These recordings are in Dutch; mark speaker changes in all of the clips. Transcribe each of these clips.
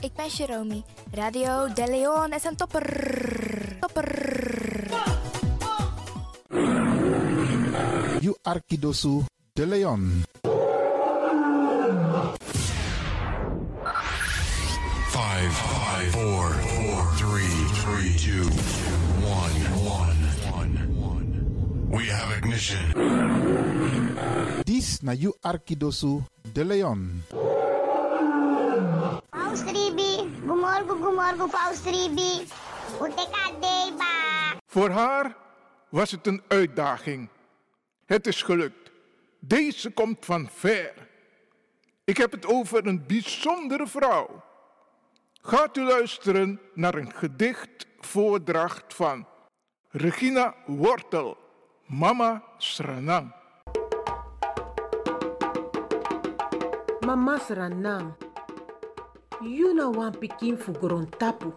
Speaker 1: Ik ben Jerome. Radio De Leon is een topper. Topper.
Speaker 2: You Arkidosu de Leon.
Speaker 3: Five, five, four, four, three, three, two, one, one, one, one. We have ignition.
Speaker 2: This na You Arkidosu de Leon.
Speaker 4: Paus Ribi, gumorgo, gumorgo, Paus Ribi. Utekadeba.
Speaker 5: Voor haar was het een uitdaging. Het is gelukt. Deze komt van ver. Ik heb het over een bijzondere vrouw. Gaat u luisteren naar een gedichtvoordracht van Regina Wortel, Mama Sranang.
Speaker 6: Mama Sranam, you no wan pikin for Gorontapu,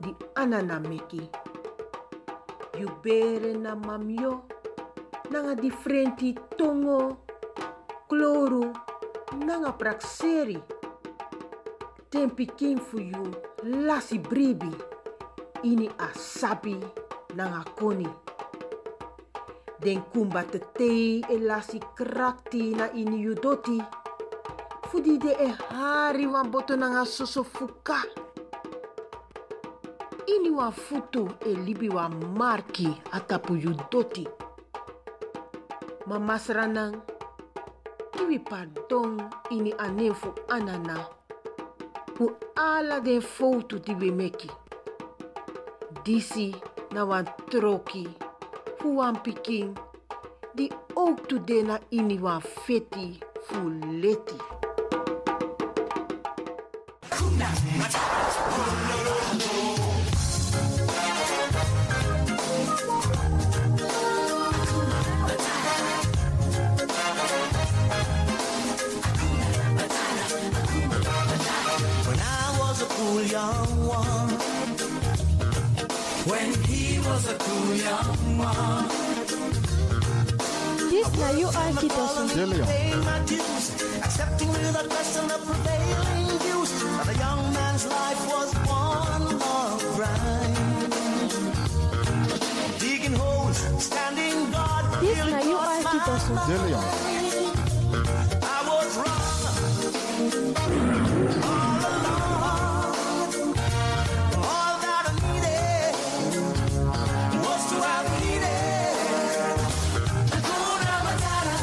Speaker 6: the anana meki. You bere na mamyo, nanga differenti tongo, kloro, nanga prakseri. Ten pikin for you, lasi bribi, ini asabi, nanga koni. Den kumba te tei e lasi krakti na ini you doti. Fudi de e hari wan boto nanga soso fuka. Ini wan futu e libi wan marki atapu yu doti. Mama sranang, kiwi pardon ini anen fu anana. Fu ala den foutu di we meki. Disi na wan troki, fu wan pikin, di ook tu de na ini wan feti fu leti.
Speaker 7: When I was a cool young one. When he was a cool young one.
Speaker 8: This na you are
Speaker 2: De Leon.
Speaker 7: Paying my dues, accepting without question the prevailing views. But a young man's life was one long grind. Digging holes, standing guard.
Speaker 8: This
Speaker 7: till it
Speaker 8: na you
Speaker 7: crossed
Speaker 8: are
Speaker 7: my
Speaker 8: Kitosu.
Speaker 2: De Leon.
Speaker 7: I was wrong. All along, all that I needed was to have needed. Hakuna Matata.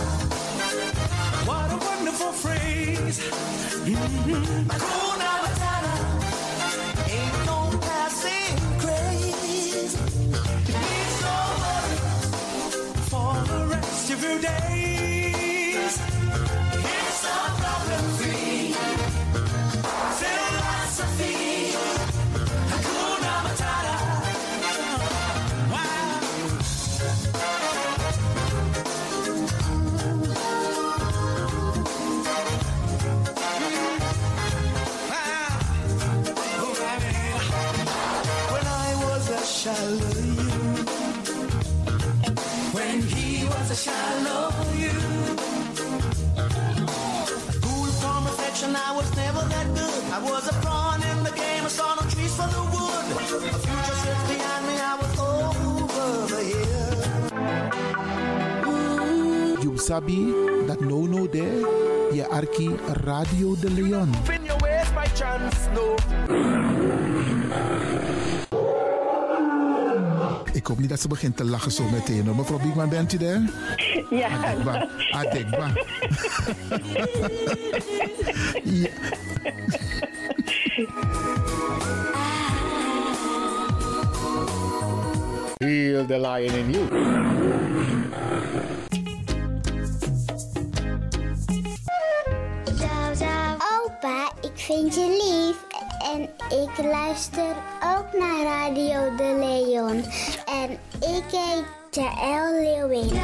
Speaker 7: What a wonderful phrase. Mhm. Hakuna Matata. Ain't no passing craze. It's over for the rest of your days. It's a problem free philosophy. Hakuna Matata. Wow. Wow. Oh, baby. When I was a Shallow you. When he was a shallow you. Cool from affection, I was never that good. I was a pawn in the game, I saw no trees for the wood. A future sits behind me, I was over the hill.
Speaker 2: You sabi nou that no no there. Ya Arki Radio de Leon.
Speaker 7: In your ways by chance, no.
Speaker 2: Ik hoop niet dat ze begint te lachen zo meteen. hoor. Mevrouw Biekman, bent u daar?
Speaker 9: Ja,
Speaker 2: Adekba. Adekba. ja.
Speaker 10: Heal the lion in you.
Speaker 4: Opa, Oh, ik vind je lief. En ik luister ook naar Radio De Leon. En ik heet Jaël Leeuwin.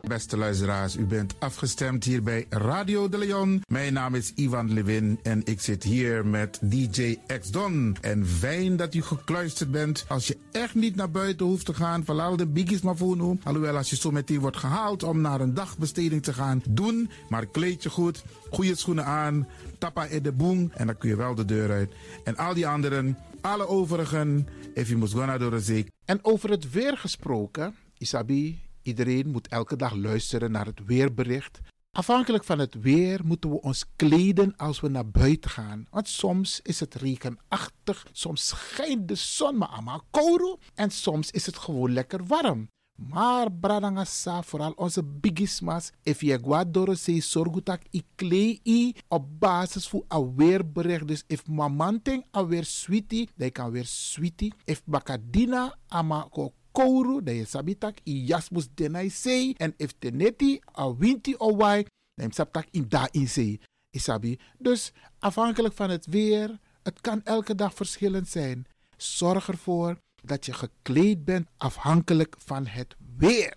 Speaker 2: Beste luisteraars, u bent afgestemd hier bij Radio de Leon. Mijn naam is Ivan Levin en ik zit hier met DJ X Don. En fijn dat u gekluisterd bent. Als je echt niet naar buiten hoeft te gaan, verlaal de biggies maar voor nu. Alhoewel, als je zo meteen wordt gehaald om naar een dagbesteding te gaan, doen. Maar kleed je goed, goede schoenen aan, tappa in de boom en dan kun je wel de deur uit. En al die anderen, alle overigen, if you must go naar de zee.
Speaker 11: En over het weer gesproken, Isabi, iedereen moet elke dag luisteren naar het weerbericht. Afhankelijk van het weer moeten we ons kleden als we naar buiten gaan. Want soms is het regenachtig, soms schijnt de zon maar allemaal kouro en soms is het gewoon lekker warm. Maar bradangasa, vooral onze bigismas, if je guadoro se sorgutak i klei i op basis voor a weerbericht. Dus if mamanting a weer sweetie, dan kan weer sweetie. If bakadina ama ko kouru, dan je sabitak i jasmus denai sei. En if teneti a winti o wai, dan saptak in da in sei. Isabi. Dus afhankelijk van het weer, het kan elke dag verschillend zijn. Zorg ervoor dat je gekleed bent afhankelijk van het weer.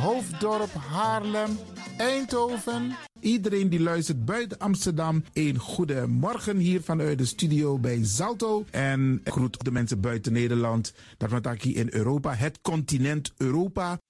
Speaker 11: Hoofddorp, Haarlem, Eindhoven.
Speaker 2: Iedereen die luistert buiten Amsterdam, een goede morgen hier vanuit de studio bij Zalto. En ik groet de mensen buiten Nederland, dat wat ik hier in Europa, het continent Europa.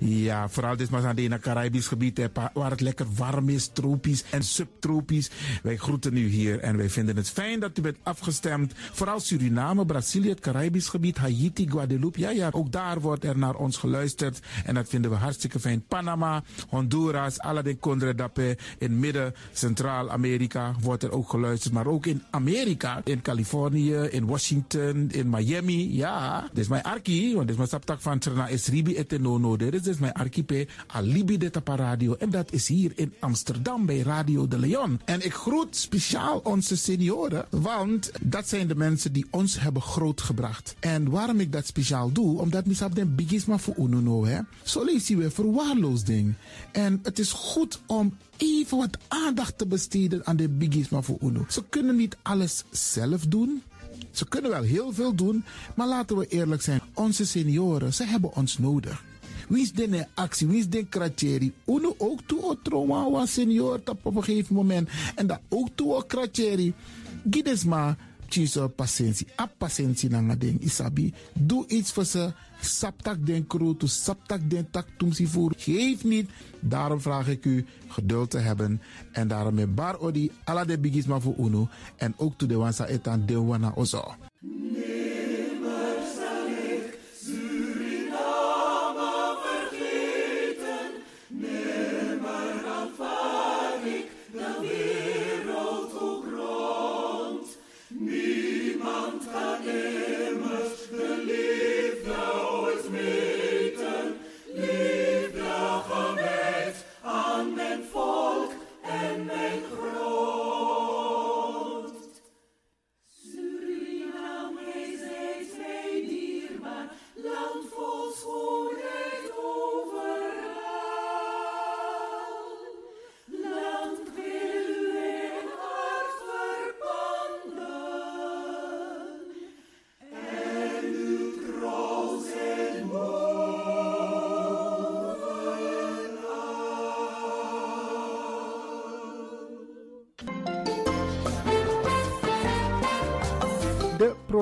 Speaker 2: Ja, vooral dit maar aan het Caribisch gebied, hè, pa- waar het lekker warm is, tropisch en subtropisch. Wij groeten u hier en wij vinden het fijn dat u bent afgestemd. Vooral Suriname, Brazilië, het Caribisch gebied, Haiti, Guadeloupe. Ja, ja, ook daar wordt er naar ons geluisterd en dat vinden we hartstikke fijn. Panama, Honduras, Aladdin Condre Dapé, in midden, Centraal-Amerika wordt er ook geluisterd. Maar ook in Amerika, in Californië, in Washington, in Miami. Ja, dit is mijn arki, want dit is mijn saptak van Trana Esribi et Nono. Dit is dus mijn arkipe Alibi de Tapa Radio. En dat is hier in Amsterdam bij Radio de Leon. En ik groet speciaal onze senioren, want dat zijn de mensen die ons hebben grootgebracht. En waarom ik dat speciaal doe, omdat misap den bigisma voor Ununo, hè. Zo lezen we verwaarloosding. En het is goed om even wat aandacht te besteden aan de bigisma voor Uno. Ze kunnen niet alles zelf doen. Ze kunnen wel heel veel doen, maar laten we eerlijk zijn. Onze senioren, ze hebben ons nodig. Wie is de actie? Wie is de kratjeri? Uno ook toe o trauma wa senior tap op een gegeven moment. En dat ook toe o kratjeri. Gides maar, tjiso patiëntie. A patiëntie nanga ding isabi. Doe iets voor ze. Saptak den kroto, saptak den tak tumsi voer. Geef niet. Daarom vraag ik u geduld te hebben. En daarom met bar odi, ala de bigisma voor uno. En ook toe de wansa etan de wana ozo.
Speaker 11: De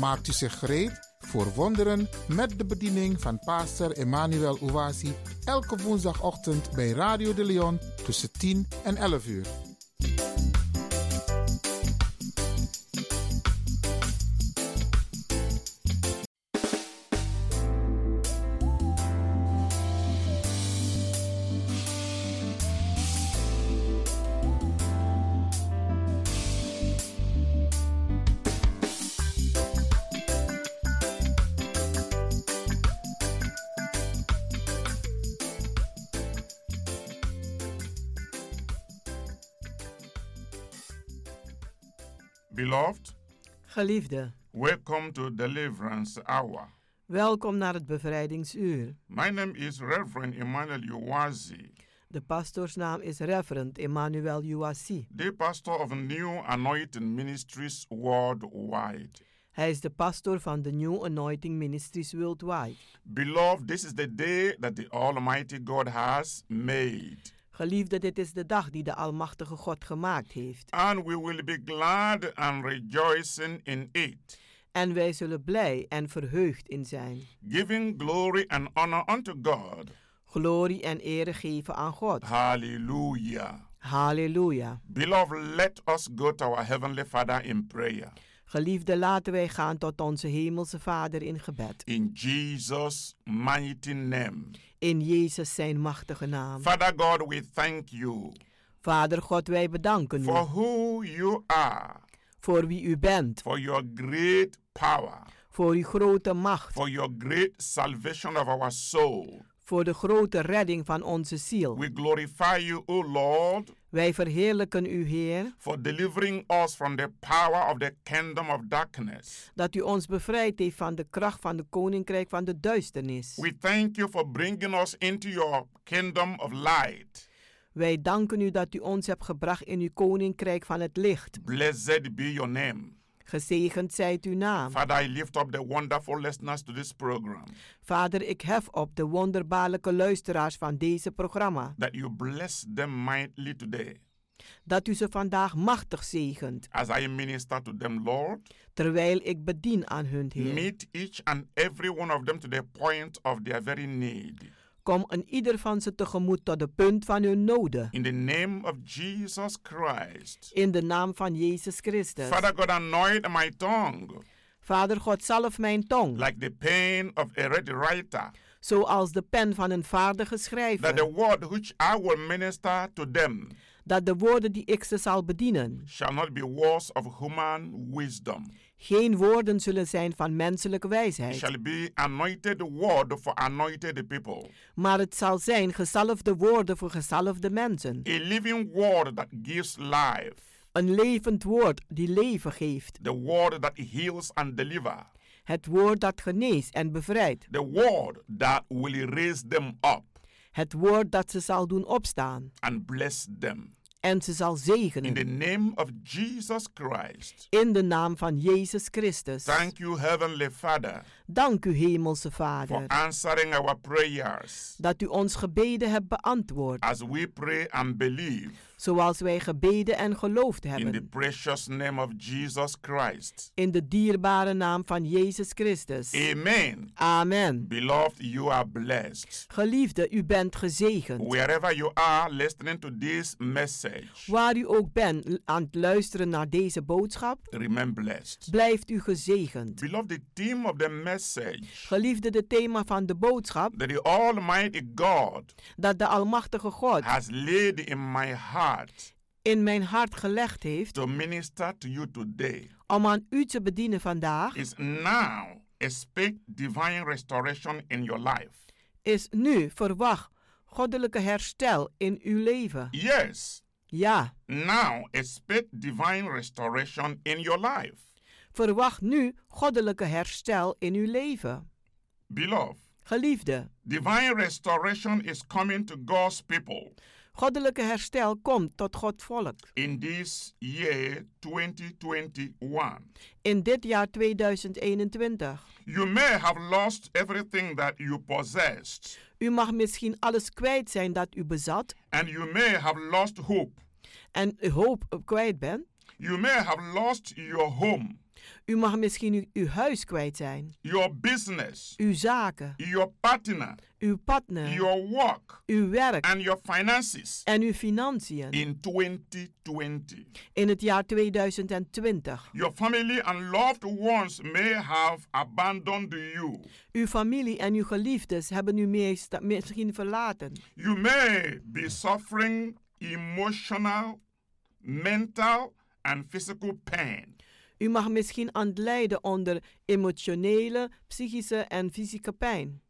Speaker 2: Maakt u zich gereed voor wonderen met de bediening van pastor Emmanuel Owasi elke woensdagochtend bij Radio de Leon tussen 10 en 11 uur.
Speaker 5: Beloved,
Speaker 12: Geliefde,
Speaker 5: welcome to Deliverance Hour.
Speaker 12: welkom naar het bevrijdingsuur.
Speaker 5: My name is Reverend Emmanuel Uwazi,
Speaker 12: De pastoorsnaam is Reverend Emmanuel Uwasi.
Speaker 5: the pastor of New Anointing Ministries worldwide.
Speaker 12: Hij is de pastoor van de New Anointing Ministries Worldwide.
Speaker 5: Beloved, this is the day that the Almighty God has made,
Speaker 12: Geliefde, dit is de dag die de Almachtige God gemaakt heeft.
Speaker 5: and we will be glad and rejoicing in it,
Speaker 12: En wij zullen blij en verheugd in zijn.
Speaker 5: giving glory and honor unto God.
Speaker 12: Glorie en ere geven aan God.
Speaker 5: Hallelujah.
Speaker 12: Halleluja.
Speaker 5: Beloved, let us go to our Heavenly Father in prayer.
Speaker 12: Geliefde, laten wij gaan tot onze Hemelse Vader in gebed.
Speaker 5: In Jesus' mighty name.
Speaker 12: In Jezus zijn machtige naam.
Speaker 5: Father God, we thank you
Speaker 12: Vader God, wij bedanken
Speaker 5: for
Speaker 12: u
Speaker 5: who you are,
Speaker 12: voor wie u bent,
Speaker 5: for your great power,
Speaker 12: voor uw grote macht,
Speaker 5: for your great salvation of our soul.
Speaker 12: voor de grote redding van onze ziel.
Speaker 5: We glorify you, O Lord,
Speaker 12: Wij verheerlijken u, Heer,
Speaker 5: for delivering us from the power of the kingdom of darkness.
Speaker 12: dat u ons bevrijd heeft van de kracht van de koninkrijk van de duisternis.
Speaker 5: We thank you for bringing us into your kingdom of light.
Speaker 12: Wij danken u dat u ons hebt gebracht in uw koninkrijk van het licht.
Speaker 5: Blessed be your name.
Speaker 12: Gezegend zijt uw naam.
Speaker 5: Father, I lift up the wonderful listeners to this program
Speaker 12: Vader, ik hef op de wonderbaarlijke luisteraars van deze programma.
Speaker 5: that you bless them mightily today.
Speaker 12: Dat u ze vandaag machtig zegent,
Speaker 5: As I minister to them, Lord,
Speaker 12: terwijl ik bedien aan hun Heer.
Speaker 5: Meet each and every one of them to the point of their very need.
Speaker 12: Kom een ieder van ze tegemoet tot de punt van hun noden.
Speaker 5: In the name of Jesus Christ.
Speaker 12: In de naam van Jezus Christus.
Speaker 5: Father God, anoint my tongue
Speaker 12: Vader God, zalf mijn tong,
Speaker 5: like the pen of a ready writer,
Speaker 12: zoals de pen van een vaardige
Speaker 5: that the
Speaker 12: schrijver,
Speaker 5: word which I will minister to them
Speaker 12: dat de woorden die ik ze zal bedienen,
Speaker 5: shall not be words of human wisdom.
Speaker 12: geen woorden zullen zijn van menselijke
Speaker 5: It
Speaker 12: wijsheid,
Speaker 5: shall be anointed word for anointed people,
Speaker 12: maar het zal zijn gezalfde woorden voor gezalfde mensen.
Speaker 5: a living word that gives life,
Speaker 12: Een levend woord die leven geeft,
Speaker 5: the word that heals and delivers,
Speaker 12: het woord dat geneest en bevrijdt,
Speaker 5: the word that will raise them up.
Speaker 12: het woord dat ze zal doen opstaan
Speaker 5: and bless them.
Speaker 12: en ze zal
Speaker 5: In the
Speaker 12: zegenen.
Speaker 5: name of Jesus Christ.
Speaker 12: In de naam van Jezus Christus.
Speaker 5: Thank you, Heavenly Father,
Speaker 12: Dank u, Hemelse
Speaker 5: for
Speaker 12: Vader,
Speaker 5: answering our prayers
Speaker 12: dat u ons gebeden hebt beantwoord.
Speaker 5: as we pray and believe
Speaker 12: zoals wij gebeden en geloofd
Speaker 5: in the
Speaker 12: hebben.
Speaker 5: precious name of Jesus Christ.
Speaker 12: In de dierbare naam van Jezus Christus.
Speaker 5: Amen.
Speaker 12: Amen.
Speaker 5: Beloved, you are blessed.
Speaker 12: Geliefde, u bent gezegend.
Speaker 5: Wherever you are listening to this message,
Speaker 12: Waar u ook bent l- aan het luisteren naar deze boodschap,
Speaker 5: remain blessed.
Speaker 12: blijft u gezegend.
Speaker 5: Beloved, the theme of the message
Speaker 12: Geliefde, het thema van de boodschap
Speaker 5: that the Almighty God
Speaker 12: dat de Almachtige God
Speaker 5: has laid in my heart
Speaker 12: in mijn hart gelegd heeft
Speaker 5: to minister to you today
Speaker 12: om aan u te bedienen vandaag,
Speaker 5: is now expect divine restoration in your life.
Speaker 12: is nu verwacht goddelijke herstel in uw leven.
Speaker 5: Yes,
Speaker 12: Ja,
Speaker 5: now expect divine restoration in your life.
Speaker 12: verwacht nu goddelijke herstel in uw leven.
Speaker 5: Beloved,
Speaker 12: Geliefde,
Speaker 5: divine restoration is coming to God's people
Speaker 12: goddelijke herstel komt tot Gods volk.
Speaker 5: in this year 2021.
Speaker 12: In dit jaar 2021.
Speaker 5: You may have lost everything that you possessed,
Speaker 12: U mag misschien alles kwijt zijn dat u bezat
Speaker 5: and you may have lost hope.
Speaker 12: en uw hoop eh, kwijt bent.
Speaker 5: You may have lost your home,
Speaker 12: U mag misschien uw, uw huis kwijt zijn,
Speaker 5: your business,
Speaker 12: uw zaken,
Speaker 5: your partner,
Speaker 12: uw partner,
Speaker 5: your work,
Speaker 12: uw werk
Speaker 5: and your finances
Speaker 12: en uw financiën.
Speaker 5: in 2020.
Speaker 12: In het jaar 2020.
Speaker 5: Your family and loved ones may have abandoned you.
Speaker 12: Uw familie en uw geliefdes hebben u meest- misschien verlaten.
Speaker 5: You may be suffering emotional, mental, and physical pain.
Speaker 12: U mag misschien aan het lijden onder emotionele, psychische en fysieke pijn.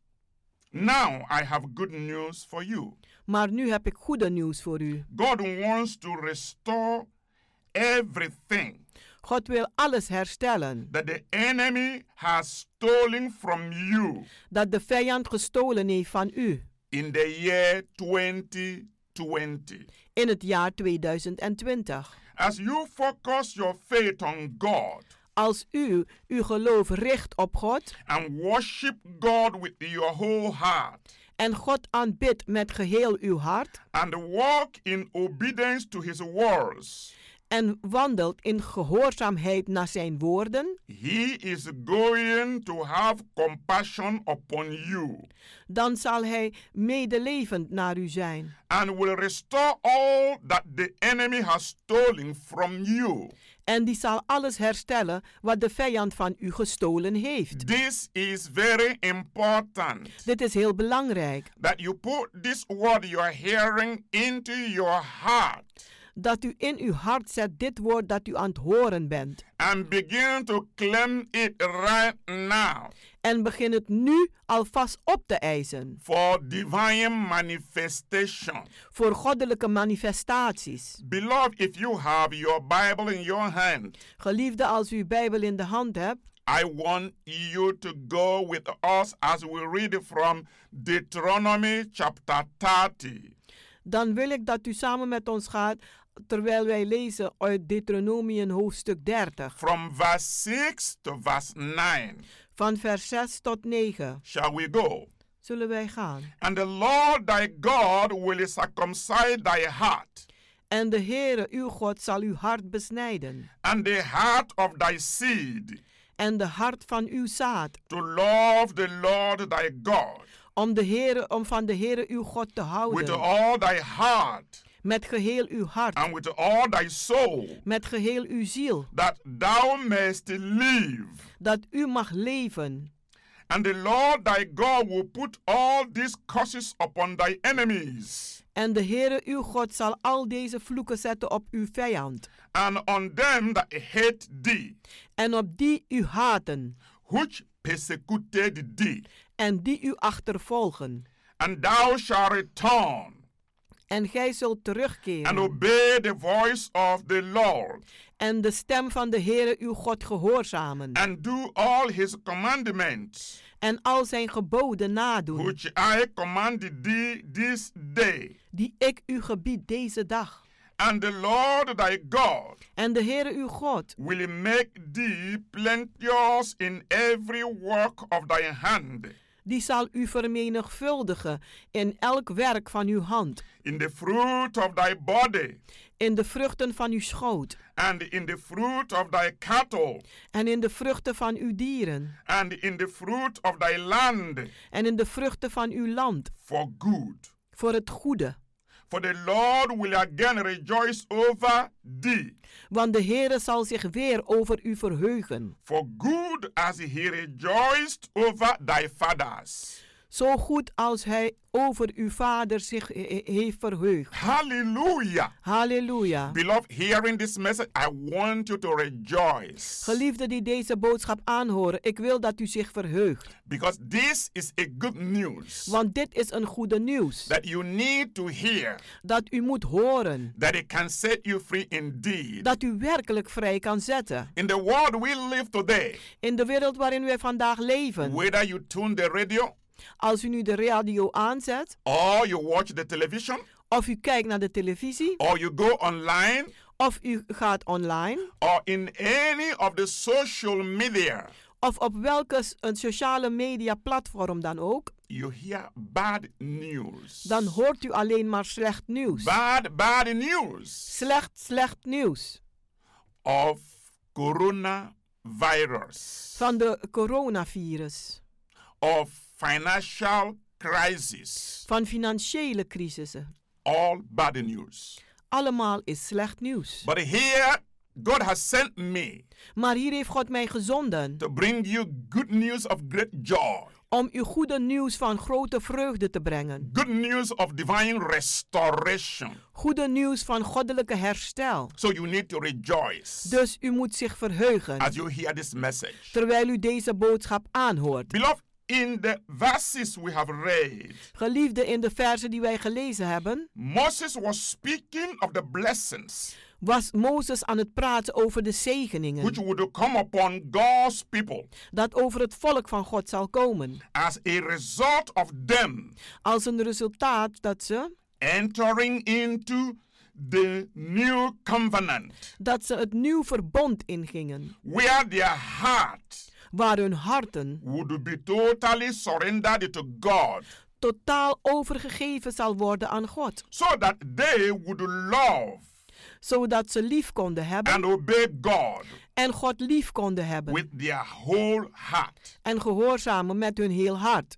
Speaker 5: Now I have good news for you.
Speaker 12: Maar nu heb ik goede nieuws voor u.
Speaker 5: God wants to restore everything
Speaker 12: God wil alles herstellen
Speaker 5: that the enemy has stolen from you
Speaker 12: dat de vijand gestolen heeft van u
Speaker 5: in the year 2020.
Speaker 12: in het jaar 2020.
Speaker 5: As you focus your faith on God
Speaker 12: Als u uw geloof richt op God
Speaker 5: and worship God with your whole heart
Speaker 12: en God aanbidt met geheel uw hart
Speaker 5: and walk in obedience to his words,
Speaker 12: en wandelt in gehoorzaamheid naar zijn woorden,
Speaker 5: he is going to have compassion upon you
Speaker 12: dan zal hij medelevend naar u zijn
Speaker 5: and will restore all that the enemy has stolen from you.
Speaker 12: en die zal alles herstellen wat de vijand van u gestolen heeft.
Speaker 5: This is very important
Speaker 12: Dit is heel belangrijk
Speaker 5: that you put this word you are hearing into your heart
Speaker 12: dat u in uw hart zet dit woord dat u aan het horen bent.
Speaker 5: and begin to claim it right now
Speaker 12: en begin het nu alvast op te eisen
Speaker 5: for divine manifestation.
Speaker 12: voor goddelijke manifestaties.
Speaker 5: Beloved, if you have your Bible in your hand,
Speaker 12: Geliefde, als u uw Bijbel in de hand hebt,
Speaker 5: I want you to go with us as we read from Deuteronomy chapter 30.
Speaker 12: dan wil ik dat u samen met ons gaat terwijl wij lezen uit Deuteronomium hoofdstuk 30,
Speaker 5: From verse 6 to verse 9
Speaker 12: van vers 6 tot 9.
Speaker 5: shall we go?
Speaker 12: Zullen wij gaan?
Speaker 5: And the Lord thy God will circumcise thy heart
Speaker 12: En de Heere, uw God, zal uw hart besnijden
Speaker 5: and the heart of thy seed
Speaker 12: en de hart van uw zaad,
Speaker 5: to love the Lord thy God
Speaker 12: om, de Heere, om van de Heere uw God te
Speaker 5: with
Speaker 12: houden,
Speaker 5: all thy heart
Speaker 12: met geheel uw hart,
Speaker 5: and with all thy soul,
Speaker 12: met geheel uw ziel,
Speaker 5: that thou mayest live.
Speaker 12: dat u mag leven.
Speaker 5: And the Lord thy God will put all these curses upon thy enemies,
Speaker 12: En de Heere uw God zal al deze vloeken zetten op uw vijand
Speaker 5: and on them that hate thee,
Speaker 12: en op die u haten
Speaker 5: which persecuted thee.
Speaker 12: en die u achtervolgen.
Speaker 5: And thou shalt return
Speaker 12: En gij zult
Speaker 5: and
Speaker 12: terugkeren
Speaker 5: obey the voice of the Lord,
Speaker 12: en de stem van de Heere uw God gehoorzamen
Speaker 5: and do all his commandments,
Speaker 12: en al zijn geboden nadoen
Speaker 5: which I commanded thee this day.
Speaker 12: die ik u gebied deze dag.
Speaker 5: And the Lord thy God
Speaker 12: En de Heere uw God
Speaker 5: will make thee plenteous in every work of thy hand,
Speaker 12: die zal u vermenigvuldigen in elk werk van uw hand,
Speaker 5: in the fruit of thy body,
Speaker 12: in de vruchten van uw schoot
Speaker 5: and in the fruit of thy cattle,
Speaker 12: en in de vruchten van uw dieren
Speaker 5: and in the fruit of thy land,
Speaker 12: en in de vruchten van uw land
Speaker 5: for good.
Speaker 12: voor het goede.
Speaker 5: for the Lord will again rejoice over thee.
Speaker 12: Want de Heere zal zich weer over u verheugen.
Speaker 5: For good as he rejoiced over thy fathers.
Speaker 12: Zo goed als hij over uw vader zich he- he- heeft verheugd.
Speaker 5: Hallelujah.
Speaker 12: Halleluja.
Speaker 5: Beloved, hearing this message, I want you to rejoice
Speaker 12: Geliefden die deze boodschap aanhoren, ik wil dat u zich verheugt.
Speaker 5: because this is a good news
Speaker 12: Want dit is een goede nieuws
Speaker 5: that you need to hear
Speaker 12: dat u moet horen.
Speaker 5: that it can set you free indeed.
Speaker 12: Dat u werkelijk vrij kan zetten.
Speaker 5: In the world we live today,
Speaker 12: In de wereld waarin wij vandaag leven.
Speaker 5: whether you tune the radio
Speaker 12: Als u nu de radio aanzet,
Speaker 5: or you watch the television Oh.
Speaker 12: of u kijkt naar de televisie,
Speaker 5: or you go online
Speaker 12: of u gaat online,
Speaker 5: or in any of the social media,
Speaker 12: of op welke s- een sociale media platform dan ook,
Speaker 5: you hear bad news.
Speaker 12: dan hoort u alleen maar slecht nieuws.
Speaker 5: Bad, bad news
Speaker 12: Slecht, slecht nieuws
Speaker 5: of coronavirus,
Speaker 12: van de coronavirus,
Speaker 5: of financial crisis.
Speaker 12: van financiële crisissen.
Speaker 5: All bad news.
Speaker 12: Allemaal is slecht nieuws.
Speaker 5: But here, God has sent me
Speaker 12: Maar hier heeft God mij gezonden
Speaker 5: to bring you good news of great joy,
Speaker 12: om u goede nieuws van grote vreugde te brengen.
Speaker 5: good news of divine restoration.
Speaker 12: Goede nieuws van goddelijke herstel.
Speaker 5: So you need to rejoice
Speaker 12: Dus u moet zich verheugen
Speaker 5: as you hear this message.
Speaker 12: terwijl u deze boodschap aanhoort.
Speaker 5: Beloved, in the verses we have read,
Speaker 12: Geliefde in de verzen die wij gelezen hebben,
Speaker 5: Moses was speaking of the blessings
Speaker 12: was Mozes aan het praten over de
Speaker 5: which
Speaker 12: zegeningen
Speaker 5: would come upon God's people
Speaker 12: dat over het volk van God zal komen.
Speaker 5: as a result of them
Speaker 12: Als een resultaat dat ze,
Speaker 5: entering into the new covenant
Speaker 12: dat ze het nieuw verbond ingingen,
Speaker 5: where their heart
Speaker 12: waar hun harten
Speaker 5: would be totally surrendered to God
Speaker 12: totaal overgegeven zal worden aan God,
Speaker 5: so that they would love
Speaker 12: zodat ze lief konden hebben
Speaker 5: and obey God
Speaker 12: en God lief konden hebben
Speaker 5: with their whole heart.
Speaker 12: en gehoorzamen met hun heel hart.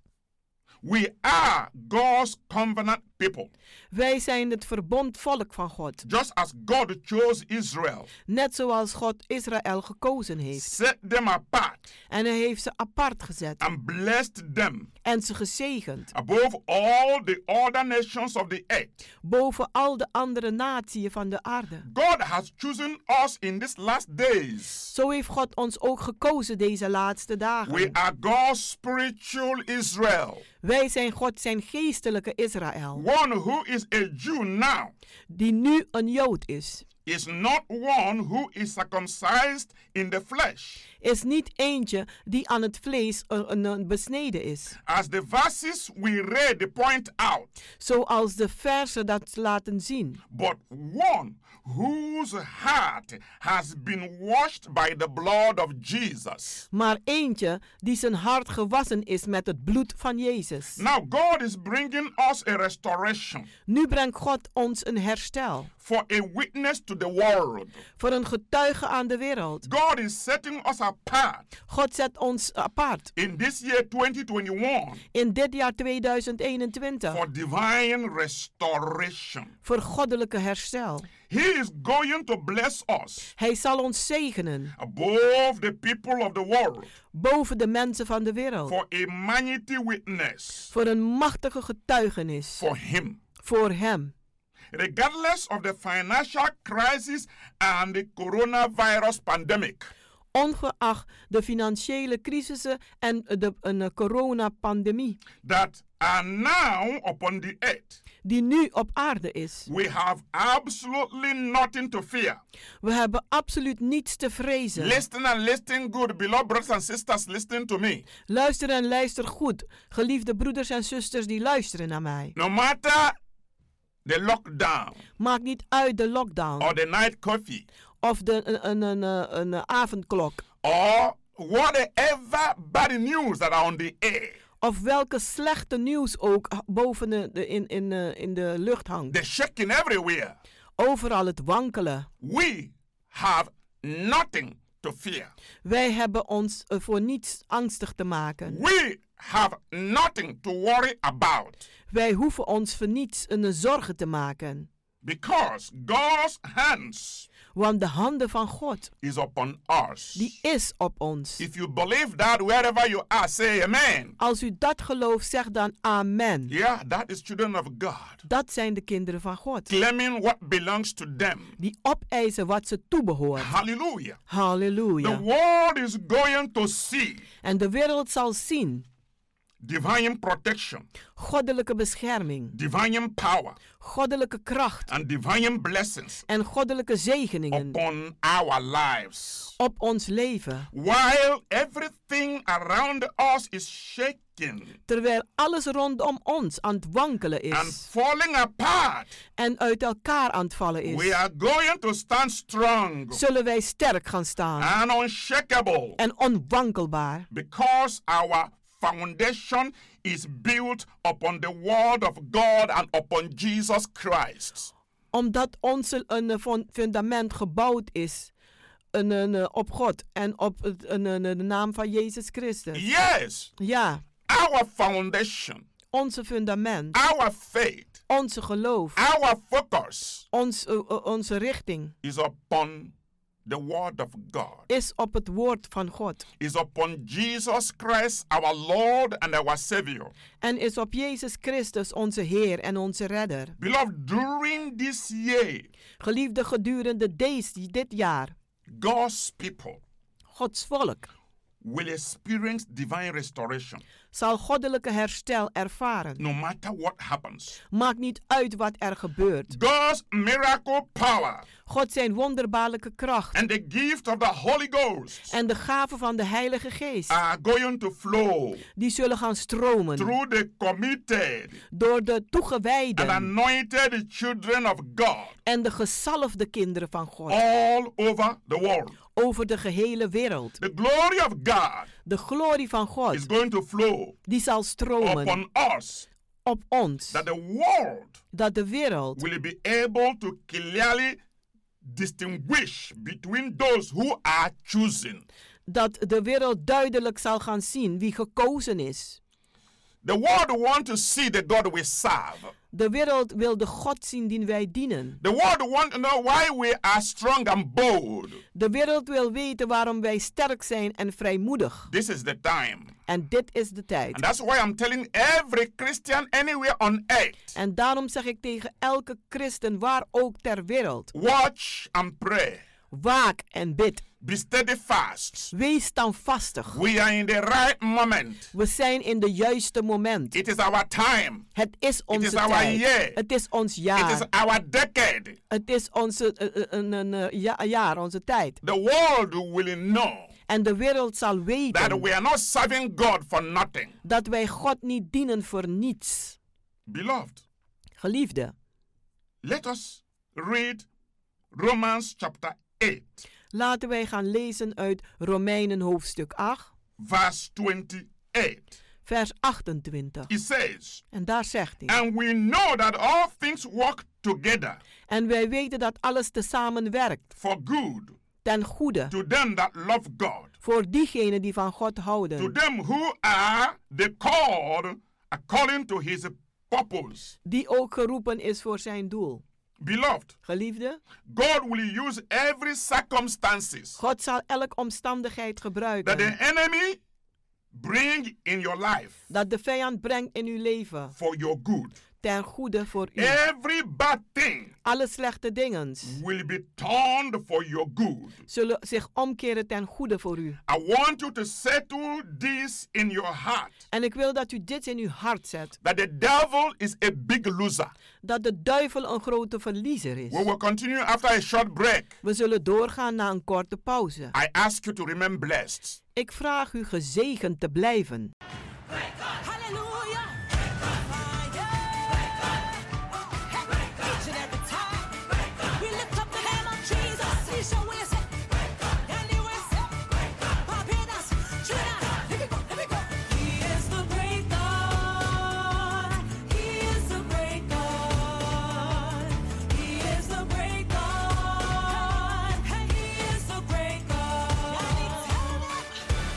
Speaker 5: We are God's covenant people.
Speaker 12: Wij zijn het verbond volk van God,
Speaker 5: Just as God chose Israel,
Speaker 12: net zoals God Israël gekozen heeft.
Speaker 5: set them apart,
Speaker 12: En hij heeft ze apart gezet
Speaker 5: and blessed them
Speaker 12: en ze gezegend,
Speaker 5: above all the other nations of the earth.
Speaker 12: boven al de andere natieën van de aarde.
Speaker 5: God has chosen us in these last days.
Speaker 12: Zo heeft God ons ook gekozen deze laatste
Speaker 5: We
Speaker 12: dagen.
Speaker 5: are God's spiritual Israel,
Speaker 12: Wij zijn God zijn geestelijke Israël,
Speaker 5: one who is a Jew now.
Speaker 12: die nu een Jood is.
Speaker 5: is not one who is circumcised in the flesh.
Speaker 12: is niet eentje die aan het vlees eh, een- een besneden is.
Speaker 5: As the verses we read point out,
Speaker 12: Zoals de versen dat laten zien.
Speaker 5: but one whose heart has been washed by the blood of Jesus.
Speaker 12: Maar eentje die zijn hart gewassen is met het bloed van Jezus.
Speaker 5: Now, God is bringing us a restoration
Speaker 12: Nu brengt God ons een herstel.
Speaker 5: for a witness to the world.
Speaker 12: Voor een getuige aan de wereld.
Speaker 5: God is setting us apart
Speaker 12: God zet ons apart.
Speaker 5: in this year 2021
Speaker 12: In dit jaar 2021.
Speaker 5: for divine restoration.
Speaker 12: Voor goddelijke herstel.
Speaker 5: He is going to bless us
Speaker 12: Hij zal ons zegenen.
Speaker 5: above the people of the world.
Speaker 12: Boven de mensen van de wereld.
Speaker 5: for a mighty witness
Speaker 12: Voor een machtige getuigenis.
Speaker 5: for him.
Speaker 12: Voor hem.
Speaker 5: Regardless of the financial crisis and the coronavirus pandemic,
Speaker 12: ongeacht de financiële crisissen en de een, eh, coronapandemie
Speaker 5: that are now upon the earth,
Speaker 12: die nu op aarde is.
Speaker 5: we have absolutely nothing to fear.
Speaker 12: We hebben absoluut niets te vrezen.
Speaker 5: Listen and listen good, beloved brothers and sisters, listen to me.
Speaker 12: Luister en luister goed, geliefde broeders en zusters die luisteren naar mij.
Speaker 5: No matter the lockdown
Speaker 12: Maakt niet uit de lockdown
Speaker 5: or the night coffee
Speaker 12: of de, een, een, een, eh, een, eh, avondklok
Speaker 5: or whatever bad news that are on the air,
Speaker 12: of welke slechte nieuws ook h- boven de, de- in, in, eh, in de lucht hangt.
Speaker 5: the shaking everywhere,
Speaker 12: Overal het wankelen.
Speaker 5: we have nothing to fear.
Speaker 12: Wij hebben ons eh, voor niets angstig te maken.
Speaker 5: We have nothing to worry about
Speaker 12: Wij hoeven ons voor niets een zorgen te maken,
Speaker 5: because God's hands
Speaker 12: want de handen van God
Speaker 5: is upon us.
Speaker 12: die is op ons.
Speaker 5: If you believe that wherever you are, say amen.
Speaker 12: Als u dat gelooft, zeg dan amen.
Speaker 5: Yeah, that is children of God
Speaker 12: Dat zijn de kinderen van God
Speaker 5: claiming what belongs to them.
Speaker 12: die opeisen wat ze toebehoort.
Speaker 5: Hallelujah. The
Speaker 12: Halleluja.
Speaker 5: world is going to see
Speaker 12: En de wereld zal zien
Speaker 5: divine protection,
Speaker 12: goddelijke bescherming,
Speaker 5: divine power,
Speaker 12: goddelijke kracht
Speaker 5: and divine blessings
Speaker 12: en goddelijke zegeningen
Speaker 5: upon our lives.
Speaker 12: op ons leven.
Speaker 5: While everything around us is shaking
Speaker 12: Terwijl alles rondom ons aan het wankelen
Speaker 5: and
Speaker 12: is
Speaker 5: falling apart,
Speaker 12: en uit elkaar aan het vallen
Speaker 5: we
Speaker 12: is,
Speaker 5: are going to stand strong
Speaker 12: zullen wij sterk gaan staan
Speaker 5: and unshakable
Speaker 12: en onwankelbaar.
Speaker 5: because our foundation is built upon the word of God and upon Jesus Christ.
Speaker 12: Omdat ons een eh, fon- fundament gebouwd is een, een, eh, op God en op het- een, een, een- de naam van Jezus Christus.
Speaker 5: Yes,
Speaker 12: Ja,
Speaker 5: our foundation,
Speaker 12: onze fundament,
Speaker 5: our faith,
Speaker 12: onze geloof,
Speaker 5: our focus
Speaker 12: ons, eh, eh, onze richting
Speaker 5: is upon the word of God,
Speaker 12: is op het woord van God
Speaker 5: is upon Jesus Christ, our Lord and our Savior.
Speaker 12: en is op Jezus Christus onze Heer en onze Redder.
Speaker 5: Beloved, during this year,
Speaker 12: Geliefde gedurende deze, dit jaar,
Speaker 5: God's people
Speaker 12: Gods volk
Speaker 5: will experience divine restoration
Speaker 12: zal goddelijke herstel ervaren.
Speaker 5: no matter what happens.
Speaker 12: Maakt niet uit wat er gebeurt.
Speaker 5: God's miracle power
Speaker 12: God zijn wonderbaarlijke kracht
Speaker 5: and the gift of the Holy Ghost
Speaker 12: en de gaven van de Heilige Geest,
Speaker 5: are going to flow
Speaker 12: die zullen gaan stromen
Speaker 5: through the committed
Speaker 12: door de
Speaker 5: and
Speaker 12: toegewijden
Speaker 5: anointed children of God
Speaker 12: en de gezalfde kinderen van God
Speaker 5: all over the world.
Speaker 12: over de gehele wereld.
Speaker 5: The glory of God
Speaker 12: De glorie van
Speaker 5: is
Speaker 12: God,
Speaker 5: going to flow
Speaker 12: die zal stromen
Speaker 5: upon us
Speaker 12: op ons,
Speaker 5: that the world
Speaker 12: dat de wereld
Speaker 5: will be able to clearly distinguish between those who are chosen.
Speaker 12: dat de wereld duidelijk zal gaan zien wie gekozen is.
Speaker 5: The world want to see the God we serve.
Speaker 12: De wereld wil de God zien die wij dienen.
Speaker 5: The world want to know why we are strong and bold.
Speaker 12: De wereld wil weten waarom wij sterk zijn en vrijmoedig.
Speaker 5: This is the time.
Speaker 12: En dit is de
Speaker 5: And
Speaker 12: tijd.
Speaker 5: that's why I'm telling every Christian anywhere on earth
Speaker 12: En daarom zeg ik tegen elke christen, waar ook ter wereld,
Speaker 5: watch and pray.
Speaker 12: waak en bid.
Speaker 5: Be steadfast.
Speaker 12: Wees standvastig.
Speaker 5: We are in the right moment.
Speaker 12: We zijn in de juiste moment.
Speaker 5: It is our time.
Speaker 12: Het is onze
Speaker 5: is our
Speaker 12: tijd.
Speaker 5: year.
Speaker 12: Het is ons
Speaker 5: It
Speaker 12: jaar.
Speaker 5: is our decade.
Speaker 12: Het is onze eh, eh, een- een, eh, ja- jaar, onze tijd.
Speaker 5: The world will know
Speaker 12: En de wereld zal
Speaker 5: that
Speaker 12: weten
Speaker 5: we are not serving God for nothing.
Speaker 12: dat wij God niet dienen voor niets.
Speaker 5: Beloved,
Speaker 12: Geliefde,
Speaker 5: let us read Romans chapter 8,
Speaker 12: laten wij gaan lezen uit Romeinen hoofdstuk 8,
Speaker 5: verse 28.
Speaker 12: vers 28.
Speaker 5: It says,
Speaker 12: En daar zegt hij.
Speaker 5: And we know that all things work together
Speaker 12: En wij weten dat alles tezamen werkt,
Speaker 5: for good
Speaker 12: ten goede,
Speaker 5: to them that love God,
Speaker 12: voor diegenen die van God houden.
Speaker 5: to them who are the called according to his purpose.
Speaker 12: die ook geroepen is voor zijn doel.
Speaker 5: Beloved,
Speaker 12: Geliefde,
Speaker 5: God will use every circumstances
Speaker 12: God zal elke
Speaker 5: that
Speaker 12: omstandigheid
Speaker 5: the
Speaker 12: gebruiken
Speaker 5: enemy bring in your life
Speaker 12: dat de vijand brengt in uw leven
Speaker 5: for your good.
Speaker 12: ten goede voor u.
Speaker 5: Every bad thing
Speaker 12: Alle slechte dingen
Speaker 5: will be turned for your good.
Speaker 12: zullen zich omkeren ten goede voor u.
Speaker 5: I want you to settle this in your heart
Speaker 12: En ik wil dat u dit in uw hart zet,
Speaker 5: that the devil is a big loser.
Speaker 12: dat de duivel een grote verliezer
Speaker 5: We
Speaker 12: is.
Speaker 5: will continue after a short break.
Speaker 12: We zullen doorgaan na een korte pauze.
Speaker 5: I ask you to remain blessed.
Speaker 12: Ik vraag u gezegend te blijven.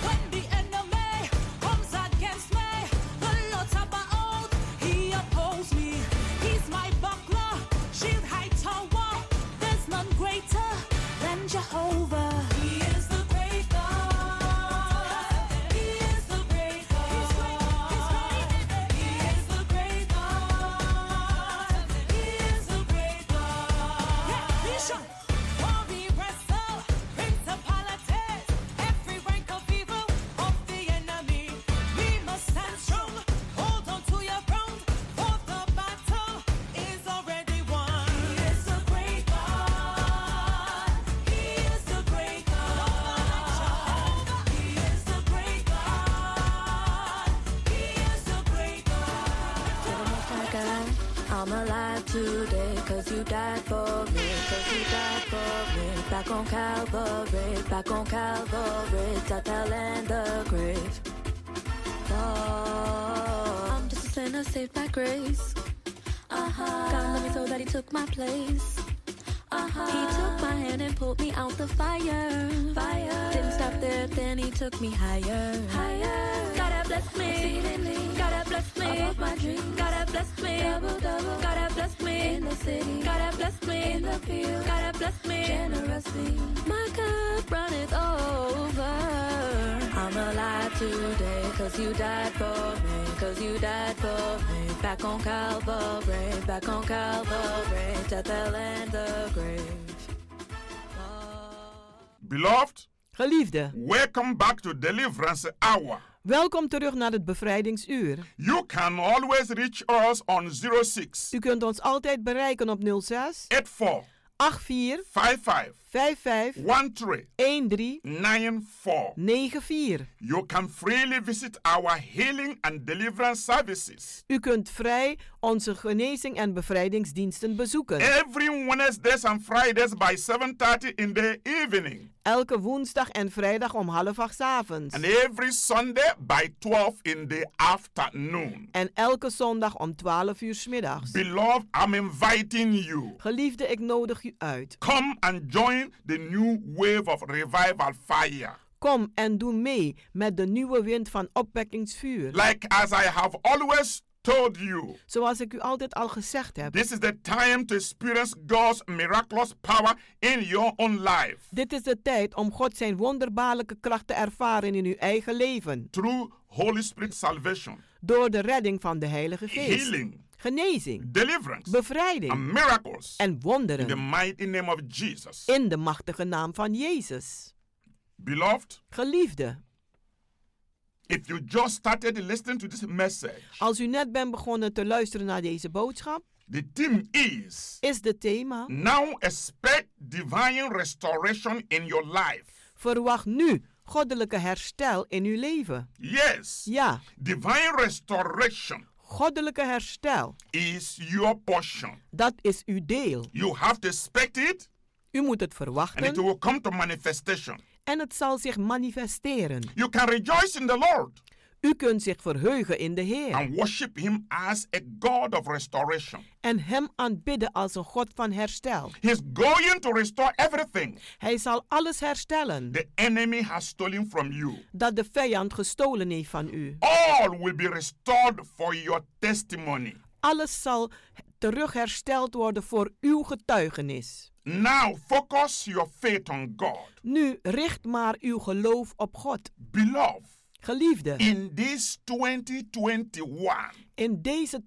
Speaker 13: When the enemy comes again. I'm alive today, cause you died for me, cause you died for me. Back on Calvary, back on Calvary, death, hell, and the grave. Oh, I'm just a sinner saved by grace. Uh-huh. God loved me so that he took my place. Uh-huh. He took my hand and pulled me out the fire. Fire. Didn't stop there, then he took me higher. Higher. God have blessed me. Exceedingly. God have blessed me. Above my dreams. God have blessed me. Double, double. God have blessed me. In the city. God have blessed me. In the field. God have blessed me. Generously. My cup runneth over. I'm alive today, cause you died for me, cause you died for me. Back on Calvary, back on Calvary, death, hell, and the grave.
Speaker 5: Beloved,
Speaker 12: Geliefde,
Speaker 5: welcome back to Deliverance Hour.
Speaker 12: welkom terug naar het bevrijdingsuur.
Speaker 5: You can always reach us on 06
Speaker 12: U kunt ons altijd bereiken op 06
Speaker 5: 84
Speaker 12: 84
Speaker 5: 55
Speaker 12: 55
Speaker 5: 13
Speaker 12: 13
Speaker 5: 94.
Speaker 12: 94.
Speaker 5: You can freely visit our healing and deliverance services
Speaker 12: U kunt vrij onze genezing en bevrijdingsdiensten bezoeken.
Speaker 5: every Wednesdays and Fridays by 7:30 in the evening
Speaker 12: Elke woensdag en vrijdag om half acht 's avonds.
Speaker 5: and every Sunday by 12 in the afternoon.
Speaker 12: En elke zondag om 12 uur 's middags.
Speaker 5: Beloved, I'm inviting you.
Speaker 12: Geliefde, ik nodig u uit.
Speaker 5: Come and join the new wave of revival fire.
Speaker 12: Kom en doe mee met de nieuwe wind van opwekkingsvuur.
Speaker 5: Like as I have always told you,
Speaker 12: Zoals ik u altijd al gezegd heb.
Speaker 5: this is the time to experience God's miraculous power in your own life
Speaker 12: Dit is de tijd om God zijn wonderbaarlijke kracht te ervaren in uw eigen leven.
Speaker 5: through Holy Spirit salvation,
Speaker 12: Door de redding van de Heilige Geest.
Speaker 5: healing,
Speaker 12: Genezing,
Speaker 5: deliverance,
Speaker 12: bevrijding
Speaker 5: and miracles
Speaker 12: en
Speaker 5: in the
Speaker 12: wonderen.
Speaker 5: mighty name of Jesus.
Speaker 12: In de machtige naam van Jezus.
Speaker 5: Beloved,
Speaker 12: Geliefde,
Speaker 5: if you just started listening to this message,
Speaker 12: als u net bent begonnen te luisteren naar deze boodschap,
Speaker 5: the theme is
Speaker 12: is het thema
Speaker 5: now expect divine restoration in your life.
Speaker 12: Verwacht nu goddelijke herstel in uw leven.
Speaker 5: Yes,
Speaker 12: Ja,
Speaker 5: divine restoration
Speaker 12: goddelijke herstel,
Speaker 5: is your portion.
Speaker 12: dat is uw deel.
Speaker 5: You have to expect it
Speaker 12: U moet het
Speaker 5: and it
Speaker 12: verwachten
Speaker 5: will come to manifestation.
Speaker 12: en het zal zich manifesteren.
Speaker 5: You can rejoice in the Lord Nou.
Speaker 12: U kunt zich verheugen in de Heer
Speaker 5: and worship Him as a God of restoration.
Speaker 12: en Hem aanbidden als een God van herstel.
Speaker 5: He's going to restore everything
Speaker 12: Hij zal alles herstellen
Speaker 5: the enemy has stolen from you.
Speaker 12: dat de vijand gestolen heeft van u.
Speaker 5: Oh. All will be restored for your testimony.
Speaker 12: Alles zal terug hersteld worden voor uw getuigenis.
Speaker 5: Now focus your faith on God.
Speaker 12: Nu richt maar uw geloof op God.
Speaker 5: Beloved,
Speaker 12: Geliefde,
Speaker 5: in this 2021,
Speaker 12: in deze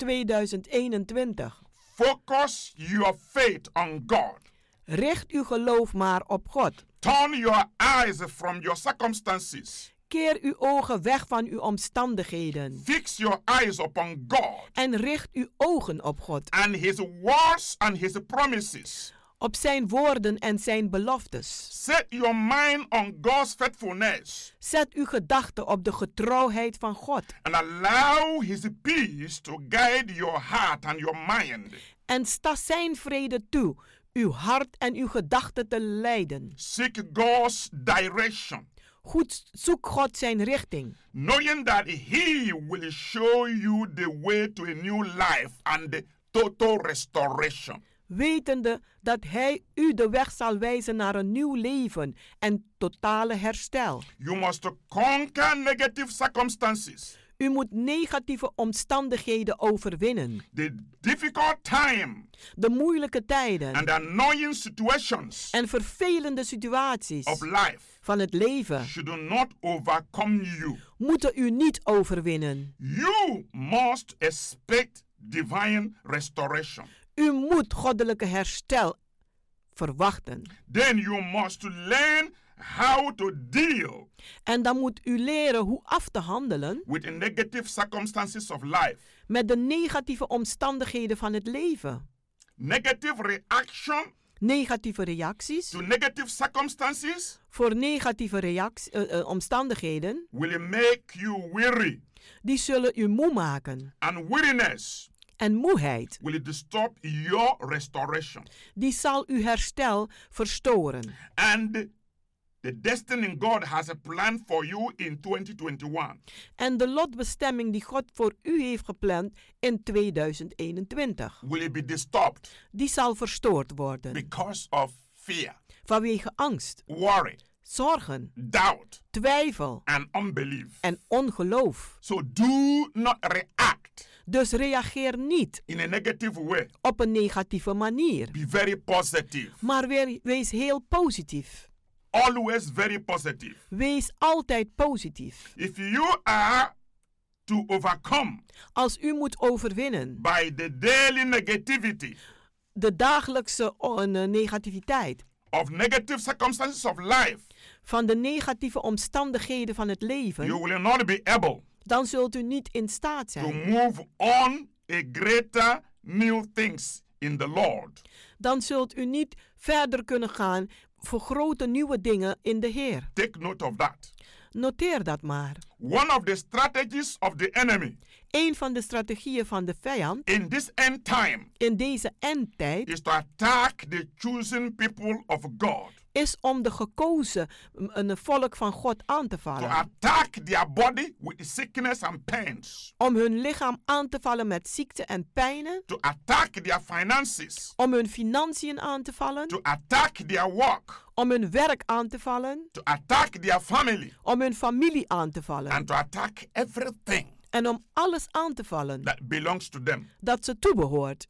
Speaker 12: 2021
Speaker 5: focus your faith on God.
Speaker 12: richt uw geloof maar op God.
Speaker 5: Turn your eyes from your circumstances.
Speaker 12: Keer uw ogen weg van uw omstandigheden
Speaker 5: Fix your eyes upon God
Speaker 12: en richt uw ogen op God,
Speaker 5: and His words and His promises.
Speaker 12: op zijn woorden en zijn beloftes.
Speaker 5: Set your mind on God's faithfulness
Speaker 12: Zet uw gedachten op de getrouwheid van God
Speaker 5: and allow His peace to guide your heart and your mind.
Speaker 12: en sta zijn vrede toe, uw hart en uw gedachten te leiden.
Speaker 5: Seek God's direction,
Speaker 12: Goed, zoek God zijn richting,
Speaker 5: knowing that He will show you the way to a new life and the total restoration.
Speaker 12: wetende dat Hij u de weg zal wijzen naar een nieuw leven en totale herstel.
Speaker 5: You must conquer negative circumstances,
Speaker 12: U moet negatieve omstandigheden overwinnen.
Speaker 5: the difficult time
Speaker 12: de moeilijke tijden
Speaker 5: and annoying situations
Speaker 12: en vervelende situaties
Speaker 5: of life
Speaker 12: van het leven
Speaker 5: should not overcome you.
Speaker 12: moeten u niet overwinnen.
Speaker 5: You must expect divine restoration.
Speaker 12: U moet goddelijke herstel verwachten.
Speaker 5: Then you must learn how to deal
Speaker 12: En dan moet u leren hoe af te handelen
Speaker 5: with the negative circumstances of life,
Speaker 12: met de negatieve omstandigheden van het leven.
Speaker 5: negative reaction
Speaker 12: Negatieve reacties
Speaker 5: to negative circumstances
Speaker 12: voor negatieve reactie, eh, omstandigheden
Speaker 5: will make you weary
Speaker 12: die zullen u moe maken.
Speaker 5: and weariness
Speaker 12: en moeheid.
Speaker 5: will disturb your restoration.
Speaker 12: Die zal uw herstel verstoren.
Speaker 5: And the destiny God has a plan for you in 2021
Speaker 12: En de lotbestemming die God voor u heeft gepland in 2021,
Speaker 5: will be disturbed
Speaker 12: die zal verstoord worden.
Speaker 5: because of fear,
Speaker 12: Vanwege angst,
Speaker 5: worry,
Speaker 12: zorgen,
Speaker 5: doubt,
Speaker 12: twijfel
Speaker 5: and unbelief.
Speaker 12: en ongeloof.
Speaker 5: So do not react
Speaker 12: Dus reageer niet
Speaker 5: in a negative way.
Speaker 12: op een negatieve manier,
Speaker 5: Be very positive.
Speaker 12: maar weer- wees heel positief.
Speaker 5: Always very positive.
Speaker 12: Wees altijd positief.
Speaker 5: If you are to overcome
Speaker 12: Als u moet overwinnen
Speaker 5: by the daily negativity
Speaker 12: de dagelijkse o- eh, negativiteit
Speaker 5: of negative circumstances of life,
Speaker 12: van de negatieve omstandigheden van het leven,
Speaker 5: you will not be able
Speaker 12: dan zult u niet in
Speaker 5: to
Speaker 12: staat zijn.
Speaker 5: move on a greater new things in the Lord.
Speaker 12: Dan zult u niet verder kunnen gaan voor grote nieuwe dingen in de Heer.
Speaker 5: Take note of that.
Speaker 12: Noteer dat maar.
Speaker 5: One of the strategies of the enemy
Speaker 12: Een van de strategieën van de vijand
Speaker 5: in this end time
Speaker 12: in deze endtijd
Speaker 5: is to attack the chosen people of God,
Speaker 12: is om de gekozen m- een volk van God aan te
Speaker 5: to
Speaker 12: vallen.
Speaker 5: attack their body with sickness and pains,
Speaker 12: Om hun lichaam aan te vallen met ziekte en pijnen.
Speaker 5: to attack their finances,
Speaker 12: Om hun financiën aan te vallen.
Speaker 5: to attack their work,
Speaker 12: Om hun werk aan te vallen.
Speaker 5: to attack their family,
Speaker 12: Om hun familie aan te vallen.
Speaker 5: and to attack everything
Speaker 12: En om alles aan te vallen
Speaker 5: that belongs to them.
Speaker 12: dat ze toebehoort.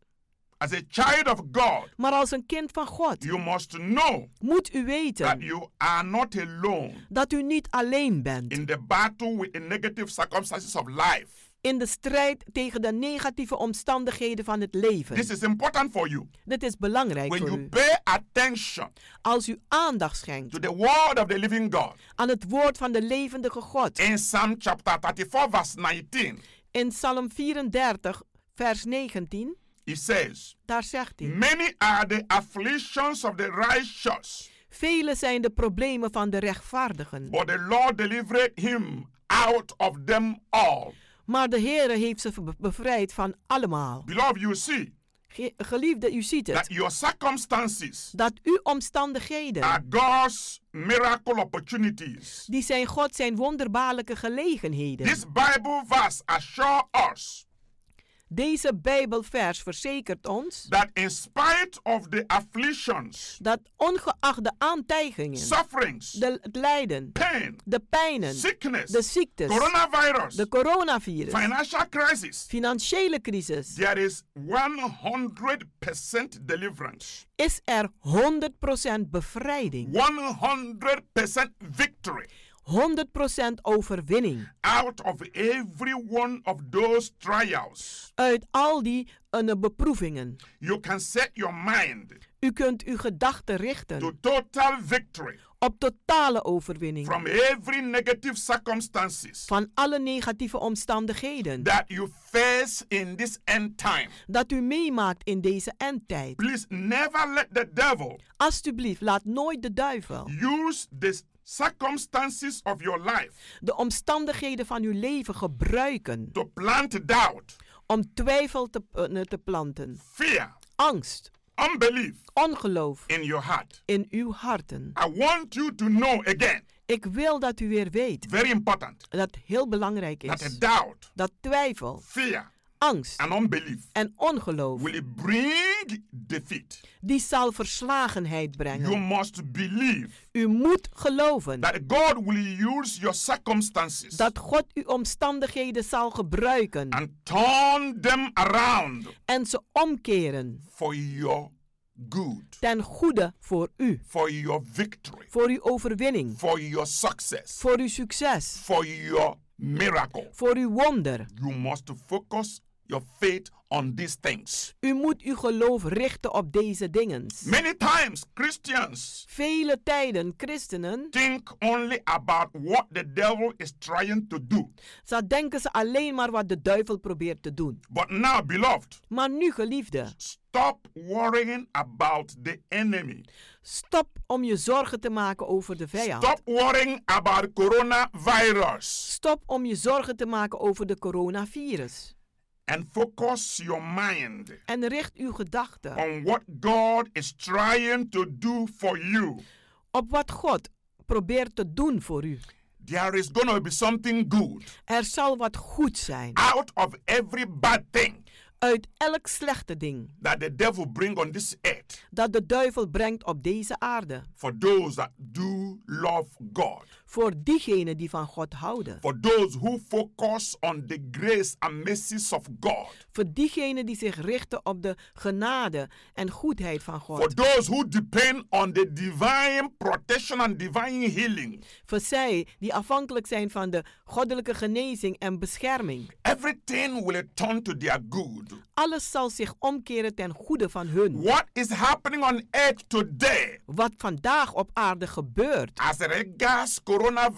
Speaker 5: As a child of God,
Speaker 12: Maar als een kind van God
Speaker 5: you must know
Speaker 12: moet u
Speaker 5: that
Speaker 12: weten
Speaker 5: you are not alone
Speaker 12: dat u niet alleen bent
Speaker 5: in the battle with the negative circumstances of life.
Speaker 12: in de strijd tegen de negatieve omstandigheden van het
Speaker 5: This
Speaker 12: leven.
Speaker 5: is important for you.
Speaker 12: Dit is belangrijk
Speaker 5: Dus- When
Speaker 12: voor
Speaker 5: you
Speaker 12: u.
Speaker 5: pay attention
Speaker 12: Als u aandacht schenkt
Speaker 5: to the word of the living God,
Speaker 12: aan het woord van de levendige God.
Speaker 5: in Psalm chapter 34, verse 19,
Speaker 12: In Psalm 34, vers 19,
Speaker 5: it says,
Speaker 12: daar zegt hij:
Speaker 5: Many are the afflictions of the righteous,
Speaker 12: Vele zijn de problemen van de rechtvaardigen,
Speaker 5: but the Lord delivered him out of them all.
Speaker 12: maar de Heere heeft ze be- bevrijd van allemaal.
Speaker 5: Beloved, you see
Speaker 12: Ge- Geliefde, u ziet
Speaker 5: that
Speaker 12: het,
Speaker 5: your circumstances
Speaker 12: dat uw omstandigheden,
Speaker 5: are God's miracle opportunities.
Speaker 12: die zijn God zijn wonderbaarlijke gelegenheden.
Speaker 5: This Bible verse assures us
Speaker 12: Deze Bijbelvers verzekert ons
Speaker 5: that in spite of the afflictions,
Speaker 12: dat ongeacht de aantijgingen,
Speaker 5: sufferings,
Speaker 12: de, het lijden,
Speaker 5: pain,
Speaker 12: de pijnen,
Speaker 5: sickness,
Speaker 12: de ziektes, de
Speaker 5: coronavirus,
Speaker 12: coronavirus,
Speaker 5: financial crisis,
Speaker 12: financiële crisis,
Speaker 5: there is 100% deliverance,
Speaker 12: is er 100% bevrijding,
Speaker 5: 100% victory
Speaker 12: 100% overwinning
Speaker 5: out of every one of those trials.
Speaker 12: uit al die eh, beproevingen.
Speaker 5: You can set your mind
Speaker 12: U kunt uw gedachten
Speaker 5: to
Speaker 12: richten
Speaker 5: total victory
Speaker 12: op totale overwinning
Speaker 5: from every negative circumstances
Speaker 12: van alle negatieve omstandigheden
Speaker 5: that you face in this end time.
Speaker 12: dat u meemaakt in deze endtijd.
Speaker 5: Please never let the devil
Speaker 12: Alsjeblieft, laat nooit de duivel
Speaker 5: use the circumstances of your life
Speaker 12: de omstandigheden van uw leven gebruiken
Speaker 5: to plant doubt,
Speaker 12: om twijfel te, eh, te planten,
Speaker 5: fear,
Speaker 12: angst,
Speaker 5: unbelief
Speaker 12: ongeloof
Speaker 5: in your heart.
Speaker 12: in uw harten.
Speaker 5: I want you to know again,
Speaker 12: Ik wil dat u weer weet
Speaker 5: very important,
Speaker 12: dat heel belangrijk
Speaker 5: that a
Speaker 12: is
Speaker 5: doubt,
Speaker 12: dat twijfel,
Speaker 5: fear,
Speaker 12: angst
Speaker 5: and unbelief
Speaker 12: en ongeloof
Speaker 5: will bring defeat.
Speaker 12: die zal verslagenheid
Speaker 5: You
Speaker 12: brengen.
Speaker 5: must believe
Speaker 12: U moet geloven
Speaker 5: that God will use your circumstances
Speaker 12: dat God uw omstandigheden zal gebruiken
Speaker 5: and turn them around
Speaker 12: en ze omkeren
Speaker 5: for your good,
Speaker 12: ten goede voor u,
Speaker 5: for your victory,
Speaker 12: voor uw overwinning,
Speaker 5: for your success,
Speaker 12: voor uw succes,
Speaker 5: for your miracle.
Speaker 12: voor uw wonder.
Speaker 5: You must focus your faith on these things.
Speaker 12: U moet uw geloof richten op deze dingen.
Speaker 5: Many times, Christians
Speaker 12: Vele tijden christenen,
Speaker 5: think only about what the devil is trying to do.
Speaker 12: zo denken ze alleen maar wat de duivel probeert te doen.
Speaker 5: But now, beloved,
Speaker 12: Maar nu, geliefde,
Speaker 5: stop worrying about the enemy.
Speaker 12: stop om je zorgen te maken over de vijand.
Speaker 5: Stop worrying about coronavirus.
Speaker 12: Stop om je zorgen te maken over de coronavirus.
Speaker 5: and focus your mind
Speaker 12: en richt uw gedachten
Speaker 5: on what God is trying to do for you.
Speaker 12: op wat God probeert te doen voor u.
Speaker 5: There is going to be something good
Speaker 12: Er zal wat goed zijn
Speaker 5: out of every bad thing
Speaker 12: uit elk slechte ding
Speaker 5: that the devil bring on this earth
Speaker 12: dat de duivel brengt op deze aarde.
Speaker 5: for those that do love God,
Speaker 12: Voor diegenen die van God houden.
Speaker 5: for those who focus on the grace and mercies of God,
Speaker 12: Voor diegenen die zich richten op de genade en goedheid van
Speaker 5: for
Speaker 12: God.
Speaker 5: those who depend on the divine protection and divine healing.
Speaker 12: Voor zij die afhankelijk zijn van de goddelijke genezing en bescherming.
Speaker 5: Everything will turn to their good.
Speaker 12: Alles zal zich omkeren ten goede van hun.
Speaker 5: What is happening on earth today
Speaker 12: Wat vandaag op aarde gebeurt,
Speaker 5: as regards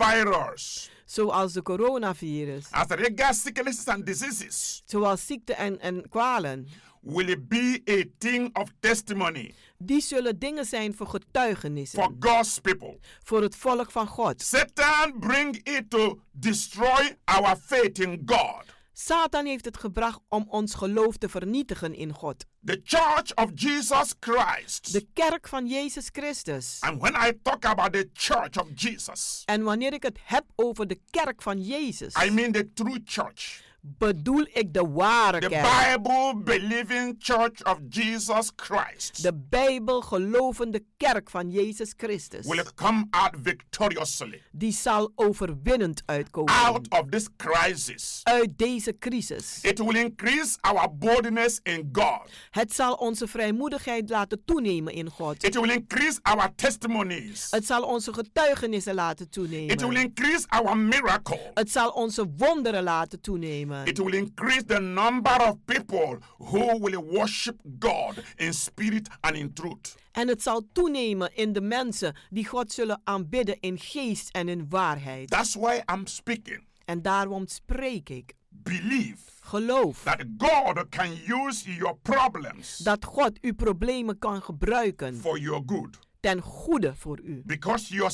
Speaker 5: coronavirus,
Speaker 12: zoals de coronavirus,
Speaker 5: as regards sicknesses and diseases,
Speaker 12: zoals ziekte en, en kwalen,
Speaker 5: will it be a thing of testimony
Speaker 12: die zullen dingen zijn voor
Speaker 5: for
Speaker 12: getuigenissen,
Speaker 5: God's people.
Speaker 12: voor het volk van God.
Speaker 5: Satan bring it to destroy our faith in God.
Speaker 12: Satan heeft het gebracht om ons geloof te vernietigen in God.
Speaker 5: The church of Jesus Christ.
Speaker 12: De kerk van Jezus Christus.
Speaker 5: and when I talk about the church of Jesus,
Speaker 12: En wanneer ik het heb over de kerk van Jezus,
Speaker 5: I mean the true church.
Speaker 12: bedoel ik de ware
Speaker 5: The
Speaker 12: kerk.
Speaker 5: Bible believing church of Jesus Christ
Speaker 12: De Bijbel gelovende kerk van Jezus Christus.
Speaker 5: will come out victoriously
Speaker 12: Die zal overwinnend uitkomen
Speaker 5: out of this crisis.
Speaker 12: uit deze crisis.
Speaker 5: It will increase our boldness in God.
Speaker 12: Het zal onze vrijmoedigheid laten toenemen in God.
Speaker 5: It will increase our testimonies.
Speaker 12: Het zal onze getuigenissen laten
Speaker 5: It will
Speaker 12: toenemen.
Speaker 5: increase our miracle.
Speaker 12: Het zal onze wonderen laten toenemen.
Speaker 5: It will increase the number of people who will worship God in spirit and in truth.
Speaker 12: En het zal toenemen in de mensen die God zullen aanbidden in geest en in waarheid.
Speaker 5: That's why I'm speaking.
Speaker 12: En daarom spreek ik.
Speaker 5: Believe
Speaker 12: Geloof
Speaker 5: that God can use your problems
Speaker 12: dat God uw problemen kan gebruiken
Speaker 5: for your good
Speaker 12: ten goede voor u.
Speaker 5: because your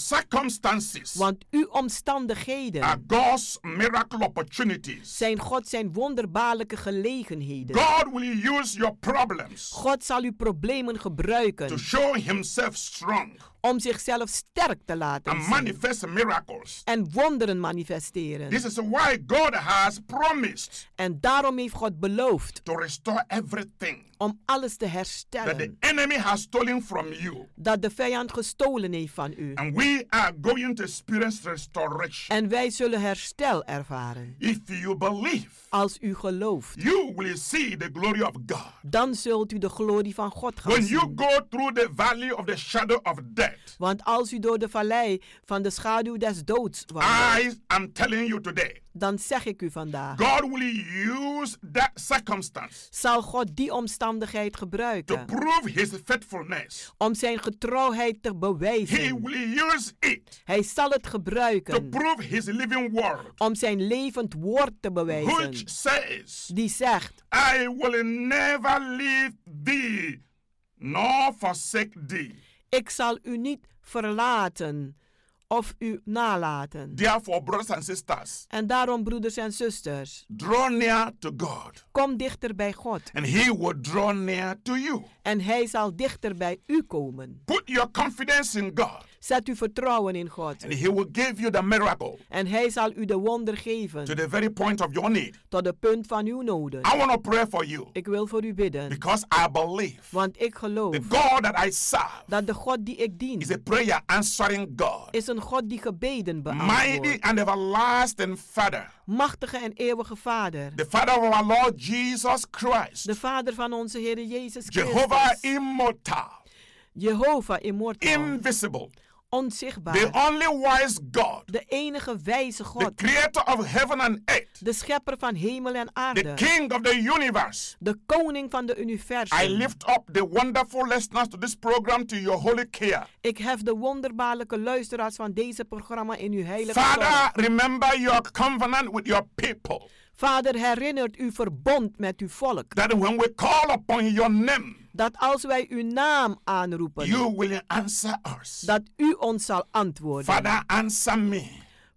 Speaker 5: circumstances
Speaker 12: Want uw omstandigheden
Speaker 5: are God's miracle opportunities.
Speaker 12: zijn God zijn wonderbaarlijke gelegenheden.
Speaker 5: God will use your problems
Speaker 12: God zal uw problemen
Speaker 5: to
Speaker 12: gebruiken
Speaker 5: show Himself strong
Speaker 12: om zichzelf sterk te laten
Speaker 5: and
Speaker 12: zien
Speaker 5: manifest miracles.
Speaker 12: en wonderen manifesteren.
Speaker 5: This is why God has promised
Speaker 12: En daarom heeft God beloofd
Speaker 5: to restore everything
Speaker 12: om alles te
Speaker 5: that the
Speaker 12: herstellen
Speaker 5: enemy has stolen from you.
Speaker 12: dat de vijand gestolen heeft van u.
Speaker 5: And we are going to experience restoration.
Speaker 12: En wij zullen herstel ervaren.
Speaker 5: If you believe,
Speaker 12: Als u gelooft,
Speaker 5: you will see the glory of God.
Speaker 12: dan zult u de glorie van God gaan
Speaker 5: When you
Speaker 12: zien.
Speaker 5: go through the valley of the shadow of death,
Speaker 12: Want als u door de vallei van de schaduw des doods wandelt,
Speaker 5: I am telling you today,
Speaker 12: dan zeg ik u vandaag,
Speaker 5: God will use that circumstance
Speaker 12: zal God die omstandigheid
Speaker 5: to
Speaker 12: gebruiken
Speaker 5: prove his faithfulness.
Speaker 12: om zijn getrouwheid te
Speaker 5: He
Speaker 12: bewijzen.
Speaker 5: will use it
Speaker 12: Hij zal het
Speaker 5: to
Speaker 12: gebruiken
Speaker 5: prove his living word,
Speaker 12: om zijn levend woord te bewijzen.
Speaker 5: which says,
Speaker 12: Die zegt,
Speaker 5: I will never leave thee nor forsake thee.
Speaker 12: ik zal u niet verlaten of u nalaten.
Speaker 5: Therefore, brothers and sisters,
Speaker 12: En daarom, broeders en zusters,
Speaker 5: draw near to God,
Speaker 12: kom dichter bij God.
Speaker 5: and He will draw near to you.
Speaker 12: En hij zal dichter bij u komen.
Speaker 5: Put your confidence in God,
Speaker 12: Zet uw vertrouwen in God.
Speaker 5: and He will give you the miracle
Speaker 12: En hij zal u de wonder geven
Speaker 5: to the very point of your need.
Speaker 12: tot de punt van uw noden.
Speaker 5: I want to pray for you
Speaker 12: Ik wil voor u bidden,
Speaker 5: because I believe
Speaker 12: want ik
Speaker 5: the
Speaker 12: geloof
Speaker 5: God that I serve
Speaker 12: dat de God die ik dien
Speaker 5: is a prayer answering God,
Speaker 12: is een God die gebeden
Speaker 5: mighty
Speaker 12: beantwoordt.
Speaker 5: and everlasting Father,
Speaker 12: Machtige en eeuwige Vader,
Speaker 5: the Father of our Lord Jesus Christ,
Speaker 12: de Vader van onze Heer Jezus
Speaker 5: Jehovah
Speaker 12: Christus,
Speaker 5: immortal,
Speaker 12: Jehovah immortal,
Speaker 5: invisible, the
Speaker 12: onzichtbaar,
Speaker 5: only wise God,
Speaker 12: de enige wijze
Speaker 5: the
Speaker 12: God,
Speaker 5: creator of heaven and earth.
Speaker 12: de schepper van hemel en
Speaker 5: the
Speaker 12: aarde,
Speaker 5: King of the universe.
Speaker 12: de koning van de
Speaker 5: I
Speaker 12: universum.
Speaker 5: lift up the wonderful listeners to this program to your holy care.
Speaker 12: Ik hef de wonderbaarlijke luisteraars van deze programma in uw heilige zorg.
Speaker 5: Father, remember your covenant with your people
Speaker 12: Vader, herinnert uw verbond met uw volk.
Speaker 5: that when we call upon your name,
Speaker 12: Dat als wij uw naam aanroepen,
Speaker 5: you will answer us.
Speaker 12: dat u ons zal antwoorden.
Speaker 5: Father, answer me.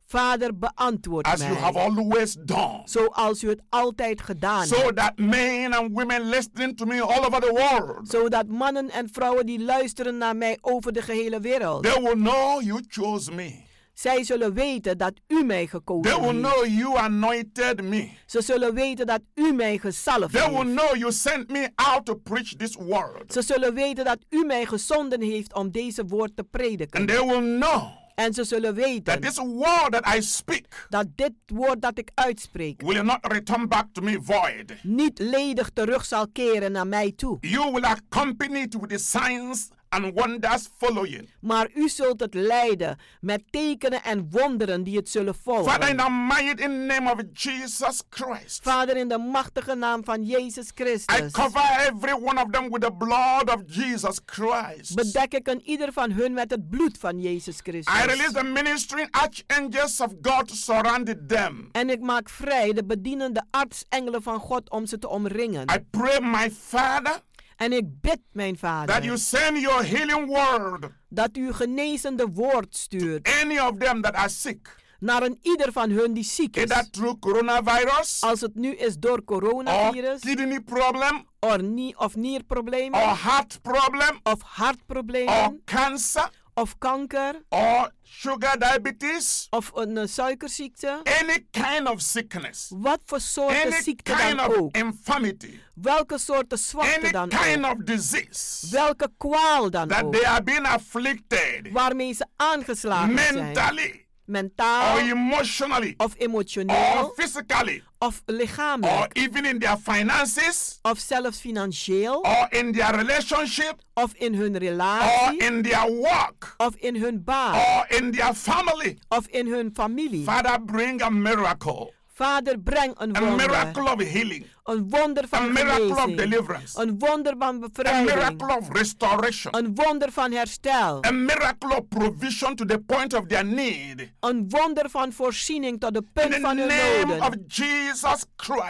Speaker 12: Vader, beantwoord
Speaker 5: as
Speaker 12: mij.
Speaker 5: you have always done.
Speaker 12: Zoals u het altijd gedaan
Speaker 5: So
Speaker 12: hebt.
Speaker 5: that men and women listening to me all over the world,
Speaker 12: Zodat mannen en vrouwen die luisteren naar mij over de gehele wereld.
Speaker 5: they will know you chose me.
Speaker 12: Zij zullen weten dat u mij gekozen
Speaker 5: They will
Speaker 12: heeft.
Speaker 5: know you anointed me.
Speaker 12: Ze zullen weten dat u mij gezalfd
Speaker 5: They will
Speaker 12: heeft.
Speaker 5: know you sent me out to preach this word.
Speaker 12: Ze zullen weten dat u mij gezonden heeft om deze woord te prediken.
Speaker 5: And they will know
Speaker 12: en ze zullen weten
Speaker 5: that this word that I speak
Speaker 12: dat dit woord dat ik uitspreek
Speaker 5: will not return back to me void.
Speaker 12: niet ledig terug zal keren naar mij toe.
Speaker 5: You will accompany it with the signs and wonders following.
Speaker 12: Maar u zult het leiden met tekenen en wonderen die het zullen
Speaker 5: Father, in
Speaker 12: volgen.
Speaker 5: the mighty name of Jesus Christ,
Speaker 12: Vader, in de machtige naam van Jezus
Speaker 5: I
Speaker 12: Christus
Speaker 5: cover every one of them with the blood of Jesus Christ.
Speaker 12: bedek ik een ieder van hun met het bloed van Jezus
Speaker 5: I release
Speaker 12: Christus.
Speaker 5: the ministering archangels of God to surround them.
Speaker 12: En ik maak vrij de bedienende artsengelen van God om ze te omringen.
Speaker 5: I pray, my Father,
Speaker 12: En ik bid, mijn
Speaker 5: that you
Speaker 12: Vader,
Speaker 5: send your healing word
Speaker 12: dat u genezende woord stuurt
Speaker 5: any of them that are sick.
Speaker 12: naar een ieder van hun die ziek is.
Speaker 5: Either through coronavirus
Speaker 12: Als het nu is door
Speaker 5: or
Speaker 12: coronavirus,
Speaker 5: kidney problem
Speaker 12: or nie- of nierproblemen,
Speaker 5: or heart problem
Speaker 12: of
Speaker 5: or
Speaker 12: hartproblemen,
Speaker 5: cancer
Speaker 12: of kanker,
Speaker 5: or sugar diabetes,
Speaker 12: of een eh, suikerziekte.
Speaker 5: any kind of sickness,
Speaker 12: Wat voor soorten
Speaker 5: any
Speaker 12: ziekte
Speaker 5: kind
Speaker 12: dan
Speaker 5: of
Speaker 12: ook,
Speaker 5: infirmity,
Speaker 12: welke soorten zwakte
Speaker 5: any
Speaker 12: dan
Speaker 5: kind
Speaker 12: ook,
Speaker 5: of disease
Speaker 12: welke kwaal dan
Speaker 5: that
Speaker 12: ook,
Speaker 5: they are being afflicted
Speaker 12: waarmee ze aangeslagen zijn,
Speaker 5: mentally
Speaker 12: mentaal
Speaker 5: or emotionally
Speaker 12: of
Speaker 5: or Oh,
Speaker 12: emotioneel
Speaker 5: physically
Speaker 12: of
Speaker 5: or
Speaker 12: lichamelijk,
Speaker 5: even in their finances
Speaker 12: of zelfs financieel,
Speaker 5: or in their relationship
Speaker 12: of in hun
Speaker 5: or
Speaker 12: relatie,
Speaker 5: oh, in Oh, their work
Speaker 12: of in hun baan,
Speaker 5: or in their family.
Speaker 12: of in hun familie.
Speaker 5: Father, bring a miracle.
Speaker 12: Vader, breng een
Speaker 5: A
Speaker 12: wonder.
Speaker 5: miracle of healing.
Speaker 12: Een wonder
Speaker 5: A
Speaker 12: van
Speaker 5: miracle of
Speaker 12: genezing.
Speaker 5: deliverance.
Speaker 12: Een wonder van
Speaker 5: A
Speaker 12: bevrijding.
Speaker 5: miracle of restoration.
Speaker 12: Een wonder van herstel.
Speaker 5: A miracle of provision to the point of their need.
Speaker 12: Een wonder van voorziening tot de
Speaker 5: In
Speaker 12: punt
Speaker 5: the
Speaker 12: van hun
Speaker 5: name
Speaker 12: noden.
Speaker 5: of Jesus
Speaker 12: In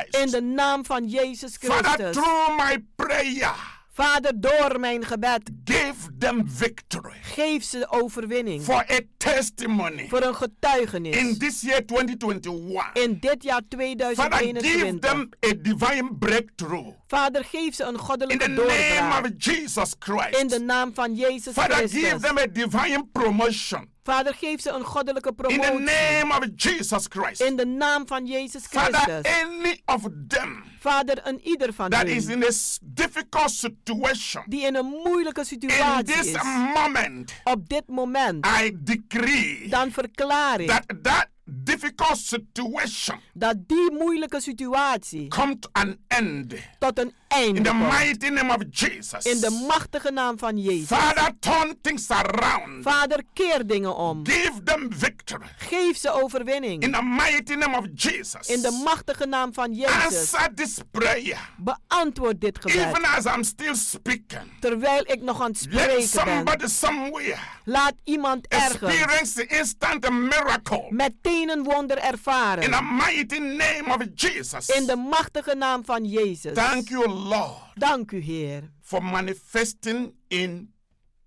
Speaker 5: Christ.
Speaker 12: de naam van Jezus
Speaker 5: Father,
Speaker 12: Christus.
Speaker 5: through my prayer,
Speaker 12: Vader, door mijn gebed,
Speaker 5: give them victory
Speaker 12: geef ze overwinning.
Speaker 5: for a testimony
Speaker 12: Voor een
Speaker 5: in
Speaker 12: getuigenis.
Speaker 5: this year 2021.
Speaker 12: In dit jaar
Speaker 5: Father, give
Speaker 12: 2021.
Speaker 5: them a divine breakthrough
Speaker 12: Vader, geef ze een
Speaker 5: in the
Speaker 12: goddelijke
Speaker 5: name
Speaker 12: doorbraak.
Speaker 5: of Jesus
Speaker 12: In de
Speaker 5: Christ.
Speaker 12: naam van Jezus
Speaker 5: Father, give
Speaker 12: Christus.
Speaker 5: them a divine promotion
Speaker 12: Vader, geef ze een goddelijke
Speaker 5: in the
Speaker 12: promotie.
Speaker 5: name of Jesus Christ.
Speaker 12: In de naam van Jezus
Speaker 5: Father,
Speaker 12: Christus.
Speaker 5: any of them
Speaker 12: Vader, een ieder van
Speaker 5: that is
Speaker 12: hen
Speaker 5: in a s- difficult situation
Speaker 12: die in een moeilijke
Speaker 5: in
Speaker 12: situatie
Speaker 5: this
Speaker 12: is,
Speaker 5: moment,
Speaker 12: op dit moment,
Speaker 5: I decree
Speaker 12: dan verklaar ik
Speaker 5: that that difficult situation
Speaker 12: dat die moeilijke situatie
Speaker 5: come to an end
Speaker 12: tot een
Speaker 5: in
Speaker 12: einde
Speaker 5: the
Speaker 12: komt.
Speaker 5: mighty name of Jesus.
Speaker 12: In de machtige naam van Jezus.
Speaker 5: Father, turn things around.
Speaker 12: Vader, keer dingen om.
Speaker 5: Give them victory
Speaker 12: Geef ze
Speaker 5: in
Speaker 12: overwinning.
Speaker 5: the mighty name of Jesus.
Speaker 12: In de machtige naam van Jezus.
Speaker 5: Answer this prayer.
Speaker 12: Beantwoord dit gebed.
Speaker 5: Even as I'm still speaking,
Speaker 12: Terwijl ik nog aan het
Speaker 5: let
Speaker 12: spreken ben.
Speaker 5: somebody somewhere
Speaker 12: Laat iemand ergens
Speaker 5: experience the instant miracle
Speaker 12: meteen een wonder
Speaker 5: in the
Speaker 12: ervaren.
Speaker 5: mighty name of Jesus.
Speaker 12: In de machtige naam van Jezus.
Speaker 5: Thank you, Lord,
Speaker 12: Dank u, Heer.
Speaker 5: for manifesting in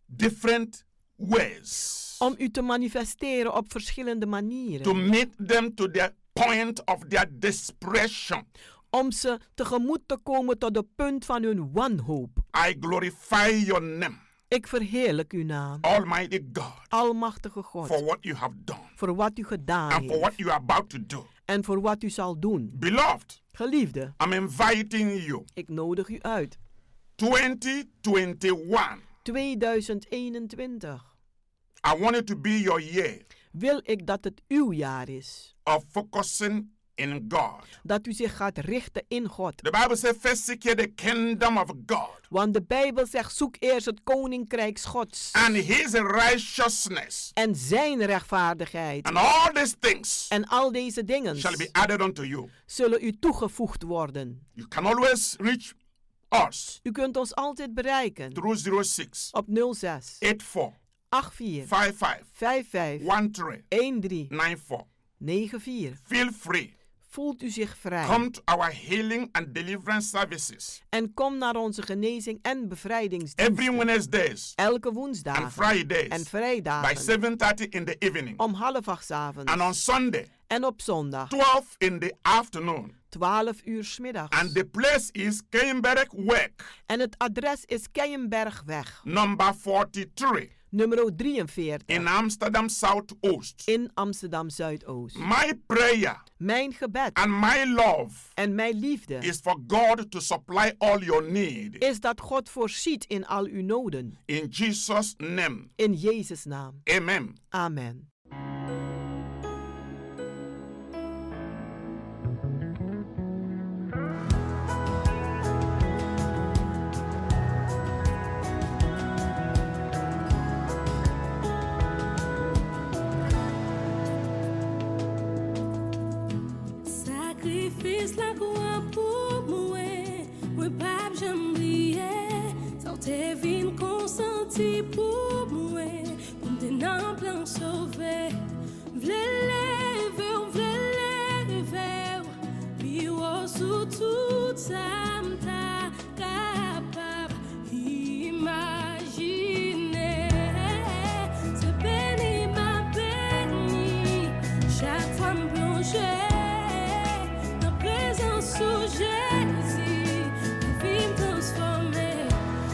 Speaker 5: different ways
Speaker 12: Om u te manifesteren op verschillende
Speaker 5: to
Speaker 12: manieren.
Speaker 5: meet them to their point of their desperation.
Speaker 12: Om ze tegemoet te komen tot de punt van hun wanhoop.
Speaker 5: I glorify your name,
Speaker 12: Ik verheerlijk uw naam,
Speaker 5: Almighty God,
Speaker 12: Almachtige
Speaker 5: for
Speaker 12: God,
Speaker 5: what you have done
Speaker 12: voor wat u gedaan
Speaker 5: and for
Speaker 12: heeft
Speaker 5: what you are about to do.
Speaker 12: en voor wat u zal doen.
Speaker 5: Beloved,
Speaker 12: Geliefde,
Speaker 5: I'm inviting you.
Speaker 12: ik nodig u uit.
Speaker 5: 2021.
Speaker 12: 2021
Speaker 5: I want it to be your year
Speaker 12: wil ik dat het uw jaar is.
Speaker 5: of focusing in God.
Speaker 12: Dat u zich gaat richten in God.
Speaker 5: The Bible says, first seek ye the kingdom of God
Speaker 12: Want de Bijbel zegt: zoek eerst het koninkrijk Gods
Speaker 5: and his righteousness,
Speaker 12: en zijn rechtvaardigheid.
Speaker 5: and all these things
Speaker 12: En al deze dingen
Speaker 5: shall be added unto you.
Speaker 12: zullen u toegevoegd worden.
Speaker 5: You can always reach us
Speaker 12: U kunt ons altijd bereiken
Speaker 5: through 06
Speaker 12: op 06
Speaker 5: 84
Speaker 12: 84
Speaker 5: 55
Speaker 12: 55
Speaker 5: 13
Speaker 12: 13
Speaker 5: 94.
Speaker 12: 94.
Speaker 5: Feel free
Speaker 14: voelt u zich vrij.
Speaker 5: Come to our healing and deliverance services
Speaker 14: en kom naar onze genezing en bevrijdingsdienst
Speaker 5: every Wednesdays
Speaker 14: elke woensdag
Speaker 5: and Fridays
Speaker 14: en
Speaker 5: by
Speaker 14: vrijdag
Speaker 5: 7:30 in the evening
Speaker 14: om half acht 's avonds
Speaker 5: and on Sunday
Speaker 14: en op zondag
Speaker 5: 12 in the afternoon.
Speaker 14: 12 uur 's middags.
Speaker 5: And the place is Keienbergweg
Speaker 14: En het adres is Keienbergweg,
Speaker 5: number 43
Speaker 14: nummer 43
Speaker 5: in Amsterdam Zuidoost.
Speaker 14: in Amsterdam Zuidoost.
Speaker 5: My prayer
Speaker 14: Mijn gebed
Speaker 5: Mm. and my love
Speaker 14: en mijn liefde
Speaker 5: is for God to supply all your need
Speaker 14: is dat God voorziet in al uw noden.
Speaker 5: in Jesus name.
Speaker 14: In Jezus' naam.
Speaker 5: Amen.
Speaker 14: Amen.
Speaker 12: Sakrifis la kwa pou mwen Mwen pap jam liye Sa ou te vin konsanti pou mwen Pou mte nan plan sove Vle leve ou vle leve ou Bi ou sou tout sa mta kapab Imagine Se beni ma beni Chak fwa m plonje Nan prezan sou Jezi Ou vim transforme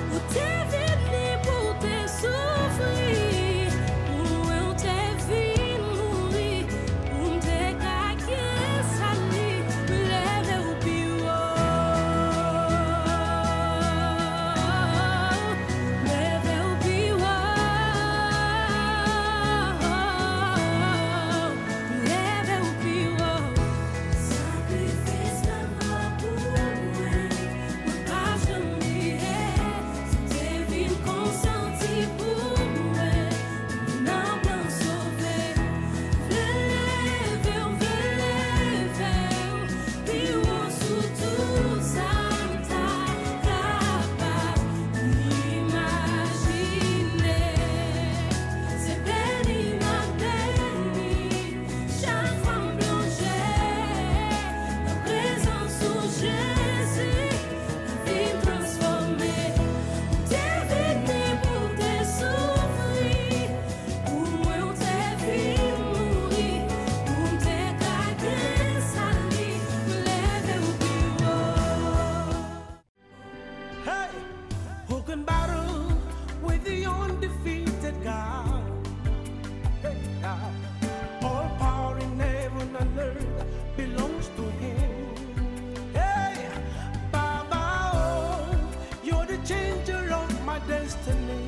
Speaker 12: Ou te vim li pou te soufri Ou eu te vim mouri Ou m te kake sali Me leve ou biwo Leve ou biwo Leve ou biwo Sacrifice la mwa pou mwen Mwen pa jom liye Se te vin konsanti pou mwen Mwen nan plan sove Vle leve ou vle leve ou Pi ou sou tout sa mta Kapab imagine Se beni ma beni Chaque fois me plonger, la présence où Jésus vient transformer. T'es venu pour te souffrir, pour moi t'es venu mourir, pour te garder salir, me lever au bureau.
Speaker 15: Hey, who can battle with the undefeated God? Hey, God. All power in heaven and earth belongs to Him. Hey, Baba, oh, you're the changer of my destiny.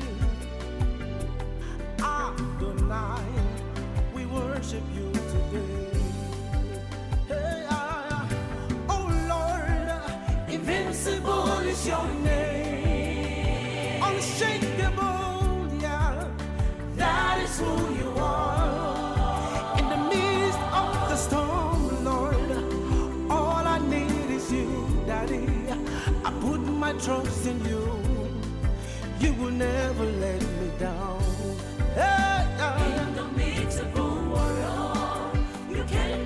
Speaker 15: Adonai, we worship you today. Hey, ah, oh Lord, invincible is your name. Unshakable, yeah, that is who you are. In the midst of the storm, Lord, all I need is you, Daddy. I put my trust in you. You will never let me down. Hey, ah. In the midst of the world.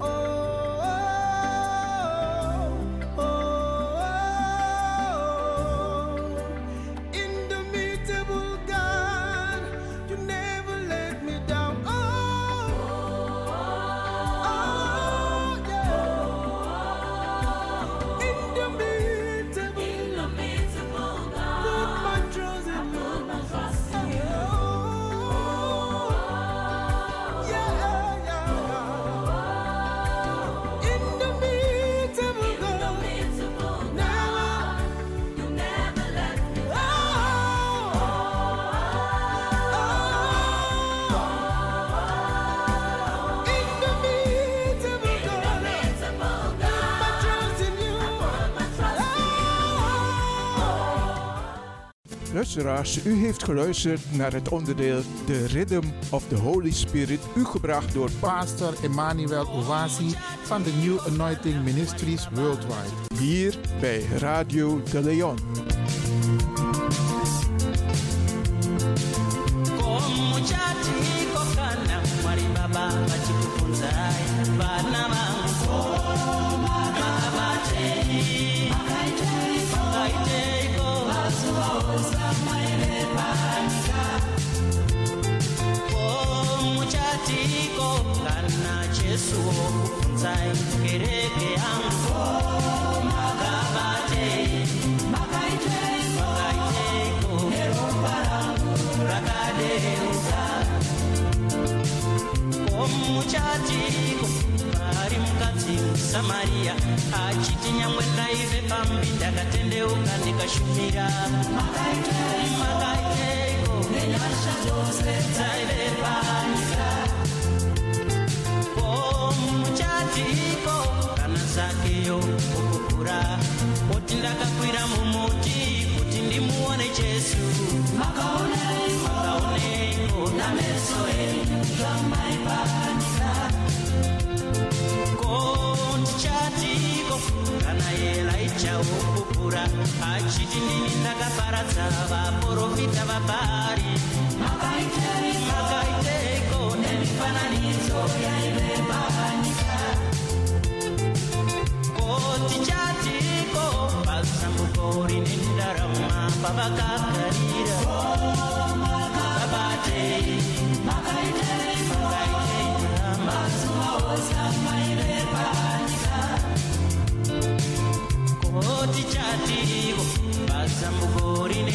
Speaker 12: Oh, oh. Oh. Oh,
Speaker 5: Luisteraars, u heeft geluisterd naar het onderdeel The Rhythm of the Holy Spirit, u gebracht door
Speaker 2: Pastor Emmanuel Owasi van de New Anointing Ministries Worldwide.
Speaker 5: Hier bij Radio De Leon.
Speaker 16: Kana mwari baba vachikukunzai vana vangu koma mabatei akaiteiko vazuvaoza mairebasa ko muchatiko kana chesuwo kukunzai kereke yangu koma kabatei makaiteiko makaiteiko neromba rangu rakadeuka omuchatiko ari mukadzi musamariya achiti nyangwe ndaive pambi ndakatendeuka ndikashumira makaiteiko nenyasha dzose dzaive panyika omuchatiko kana zakeyo kukukura oti ndakakwira mumuti kuti ndimuone jesu makaoneiko nameso enyu zvamaipanika kontichatiko kana elaijawo kukura achiti nini ndakaparadza vaprofita vabhari makaiteiko nemifananidzo yaive panyika kotichatiko pasambuko rine ndarama pavakagarira vabatei makaiteiko mazuva ose maive panyika kotichatiko pasambuko